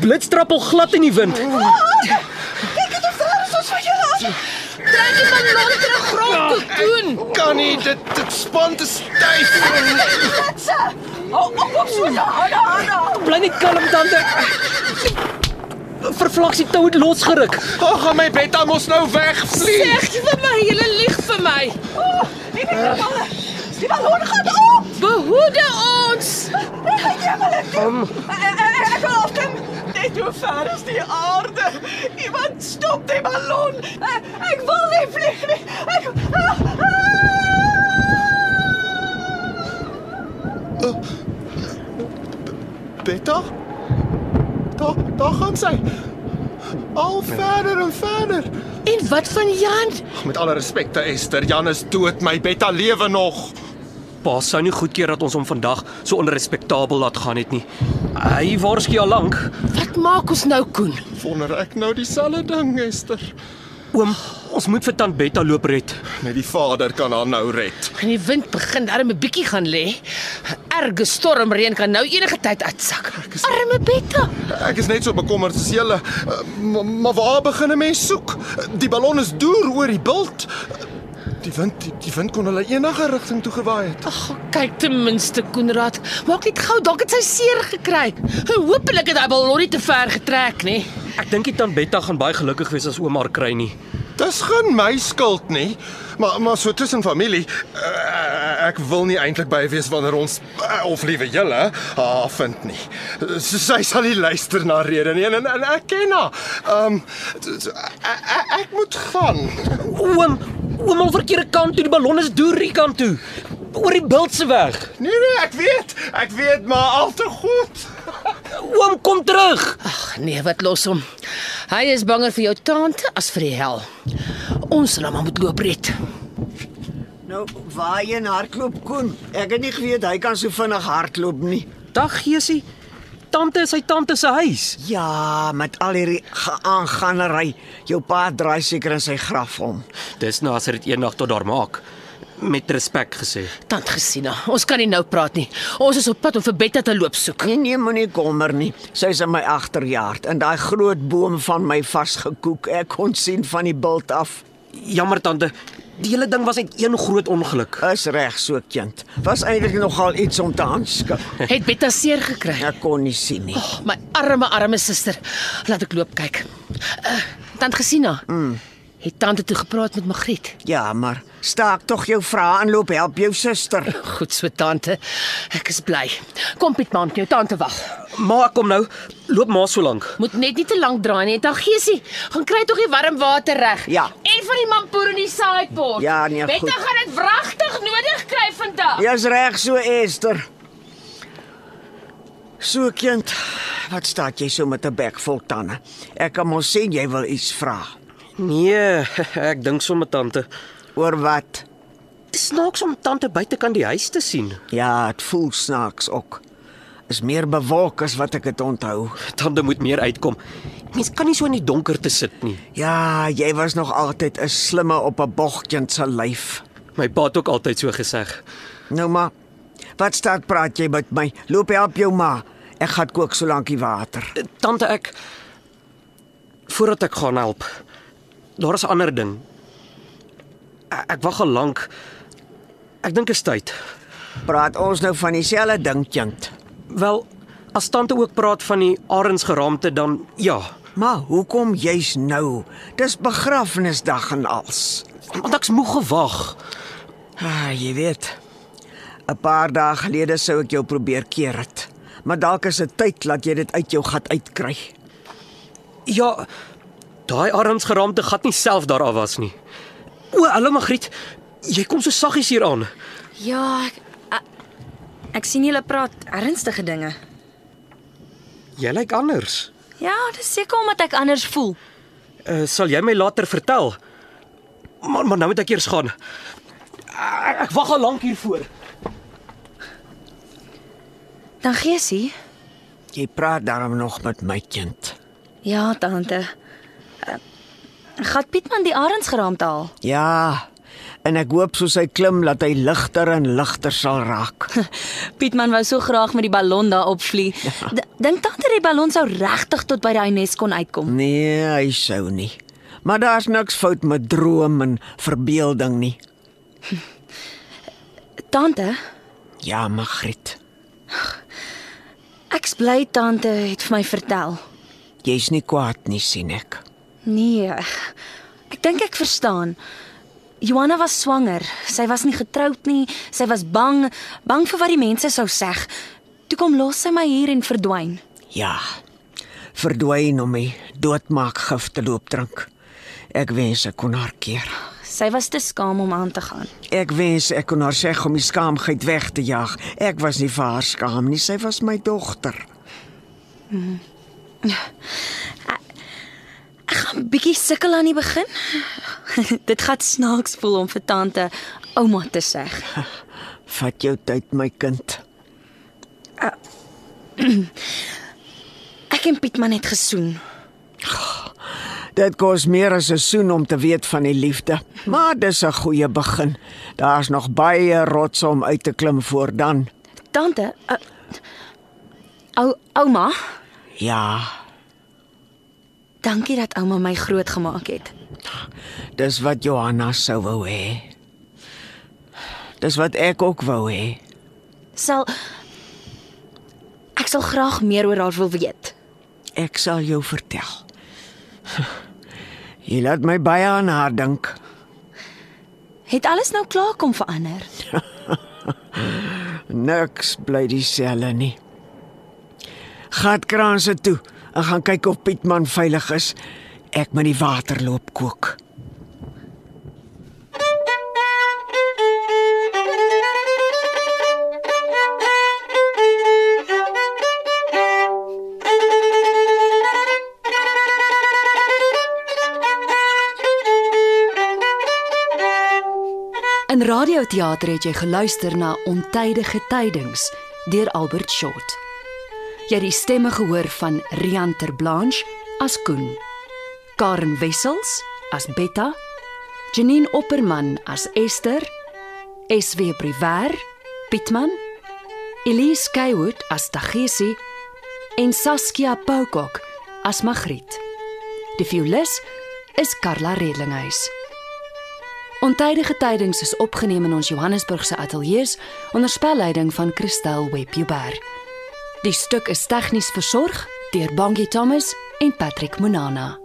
Speaker 2: Blits trappel glad in die wind.
Speaker 6: kyk dit of daar is ons van julle af.
Speaker 7: Trek die ballon terug grond toe doen.
Speaker 5: Kan nie dit dit span te styf.
Speaker 6: Katse. Hou op op so ja, hou hou.
Speaker 2: Bly net kalm tante. Vervlaksie tou het losgeruk.
Speaker 5: Ag, gaan my Betta mos nou wegvlieg.
Speaker 7: Sê vir my, julle lieg vir my.
Speaker 6: Nee nee, die ballon. Die ballon gaan op.
Speaker 7: Behoede ons.
Speaker 6: Nee, hy gaan hulle kom. Ek wil afkom. Net hoe ver is die aarde? Iemand stop die ballon. Ek, ek wil nie vlieg nie. Ek ah, ah.
Speaker 5: Betta? Daar daar gaan sy. Al verder en verder.
Speaker 7: En wat van Jan?
Speaker 5: Met alle respek te Esther, Jan is dood, my Betta lewe nog.
Speaker 2: Pa sou nie goedkeur dat ons hom vandag so onrespektabel laat gaan het nie. Hy waarskynlik al lank.
Speaker 7: Wat maak ons nou, Koen?
Speaker 5: Wonder ek nou dieselfde ding, Esther.
Speaker 2: Oom, ons moet vir tant Betta loop red.
Speaker 5: Net die Vader kan haar nou red.
Speaker 7: En die wind begin darm 'n bietjie gaan lê. 'n Erge stormreën kan nou enige tyd uitsak. Arme Betta.
Speaker 5: Ek is net so bekommerd soos julle. Eh, Uh, ma- Maar waar begin 'n mens soek? Die ballon is deur oor die bult. Die wind, die, die wind kon hulle enige rigting toe gewaai het.
Speaker 7: Ag, kyk ten minste Konrad. Maak net gou, dalk het sy seer gekry. Hoopelik het hy wel lorry te ver getrek, nê?
Speaker 2: Ek dink die tant Betta gaan baie gelukkig wees as ouma haar kry nie.
Speaker 5: Dis geen my skuld nie, maar maar so tussen familie, uh, ek wil nie eintlik by wees wanneer ons uh, of liewe julle haar vind nie. S- Sy sal nie luister na rede nie en en, en ek ken haar. Ehm um, ek moet gaan.
Speaker 2: Oom, ouma al verkeerde kant toe, die ballon is deur die kant toe. Oor die bult se weg.
Speaker 5: Nee nee, ek weet. Ek weet maar al te goed.
Speaker 2: Oom kom terug.
Speaker 7: Ag nee, wat los hom. Hy is banger vir jou tante as vir die hel. Ons sal hom maar moet loop red.
Speaker 3: Nou, waarheen hardloop Koen? Ek het nie geweet hy kan so vinnig hardloop nie.
Speaker 2: Dag Geesie. Tante is sy tante se huis.
Speaker 3: Ja, met al hierdie aanganery. Jou pa draai seker in sy graf om.
Speaker 2: Dis nou as hy dit eendag tot daar maak. Met respek gesê.
Speaker 7: Tant Gesina, ons kan nie nou praat nie. Ons is op pad om vir Betta te loop soek.
Speaker 3: Nee nee, moenie kommer nie. Sy's in my agterjaard in daai groot boom van my vasgekoek. Ek kon sien van die bult af.
Speaker 2: Jammer tante, die hele ding was net een groot ongeluk.
Speaker 3: Is reg so kind. Was eintlik nogal iets om te aanskou.
Speaker 7: Het Betta seer gekry?
Speaker 3: Ek kon nie sien nie.
Speaker 7: My arme arme suster. Laat ek loop kyk. Uh, tant Gesina. Mm. Het tante toe gepraat met Magriet?
Speaker 3: Ja, maar staak tog jou vrae en loop help jou suster.
Speaker 7: Goed so tante. Ek is bly. Kom Piet maand jou tante wag.
Speaker 2: Maar kom nou, loop maar so lank.
Speaker 7: Moet net nie te lank draai nie. Dan geesie, gaan kry tog die warm water reg.
Speaker 3: Ja.
Speaker 7: En van die mampoer in die saaipot.
Speaker 3: Ja, nee, goed.
Speaker 7: Betta gaan dit wragtig nodig kry vandag.
Speaker 3: Jy's reg so Esther. So kind, wat staak jy so met 'n bek vol tande? Ek kan mos sien jy wil iets vra.
Speaker 2: Nee, ek dink sommer tante.
Speaker 3: Oor wat?
Speaker 2: Dis snaaks om tante buitekant die huis te sien.
Speaker 3: Ja, dit voel snaaks ook. Is meer bewolk as wat ek dit onthou.
Speaker 2: Tante moet meer uitkom. Mens kan nie so in die donker te sit nie.
Speaker 3: Ja, jy was nog altyd 'n slimme op 'n bogtjend se lyf.
Speaker 2: My pa het ook altyd so geseg.
Speaker 3: Nou maar, wat staak praat jy met my? Loop help jou ma. Ek gaan kook solank die water.
Speaker 2: Tante ek voordat ek gaan help. Daar is 'n ander ding. Ek, ek wag al lank. Ek dink is tyd.
Speaker 3: Praat ons nou van dieselfde ding, kind.
Speaker 2: Wel, as tante ook praat van die arends geraamte dan ja,
Speaker 3: Maar hoekom juis nou? Dis begrafnisdag en als.
Speaker 2: want ek's moeg gewag.
Speaker 3: Ah, jy weet. 'n Paar dae gelede sou ek jou probeer keer het. Maar dalk is dit tyd dat jy dit uit jou gat uitkry.
Speaker 2: Ja, daai arends geraamte gat nie self daar af was nie. O, hallo Magriet. Jy kom so saggies hier aan.
Speaker 4: Ja, ek ek, ek sien julle praat ernstige dinge.
Speaker 2: Jy lyk anders.
Speaker 4: Ja, dis seker omdat ek anders voel.
Speaker 2: Uh, sal jy my later vertel? Maar maar nou moet ek eers gaan. Ek, ek wag al lank hiervoor.
Speaker 4: Dan geesie.
Speaker 3: Jy praat daarom nog met my kind.
Speaker 4: Ja, tante. Eh, Gaan Pietman die arends geraamd haal?
Speaker 3: Ja. En ek hoop soos hy klim dat hy ligter en ligter sal raak.
Speaker 4: Pietman wou so graag met die ballon daarop vlieg. D- Dink tante die ballon sou regtig tot by daai nes kon uitkom.
Speaker 3: Nee, hy sou nie. Maar daar's niks fout met droom en verbeelding nie.
Speaker 4: Tante,
Speaker 3: Ja, Magriet.
Speaker 4: ek's bly tante het vir my vertel.
Speaker 3: Jy's nie kwaad nie, sien ek.
Speaker 4: Nee. Ek dink ek verstaan. Johanna was swanger. Sy was nie getroud nie. Sy was bang, bang vir wat die mense sou sê. Toe kom los sy my hier en verdwyn.
Speaker 3: Ja. Verdwyn om my doodmaak gif te loop drink. Ek wens ek kon haar keer.
Speaker 4: Sy was te skaam om aan te gaan.
Speaker 3: Ek wens ek kon haar sê om die skaamheid weg te jaag. Ek was nie vir haar skaam nie, sy was my dogter.
Speaker 4: Gaan bietjie sukkel aan die begin. Dit gaan snaaks voel om vir tante ouma te sê.
Speaker 3: Vat jou tyd, my kind.
Speaker 4: Ek en Pietman het gesoen.
Speaker 3: Dit kos meer as 'n soen om te weet van die liefde, maar dis 'n goeie begin. Daar's nog baie rotse om uit te klim voor dan.
Speaker 4: Tante, uh, ou ouma,
Speaker 3: Ja,
Speaker 4: dankie dat ouma my grootgemaak het.
Speaker 3: dis wat Johanna sou wou hê. Dis wat ek ook wou hê.
Speaker 4: Sal Ek sal graag meer oor haar wil weet.
Speaker 3: Ek sal jou vertel. Jy laat my baie aan haar dink.
Speaker 4: Het alles nou klaar kom verander?
Speaker 3: Niks bly dieselfde nie. Gatkranse toe en gaan kyk of Pietman veilig is. Ek moet die waterloop kook.
Speaker 1: In radioteater het jy geluister na Ontydige tydings deur Albert Short. Jy het die stemme gehoor van Rian Terblanche as Koen, Karen Wessels as Betta, Janine Opperman as Esther, SW Priver, Pietman, Elise Kaywood as Tagesi en Saskia Poukok as Magriet. Die violis is Karla Redlinghuis. Ontydige tydings is opgeneem in ons Johannesburgse ateljee onder spelleiding van Christel Webber. Die stuk is tegnies versorg deur Bongie Thomas en Patrick Monana.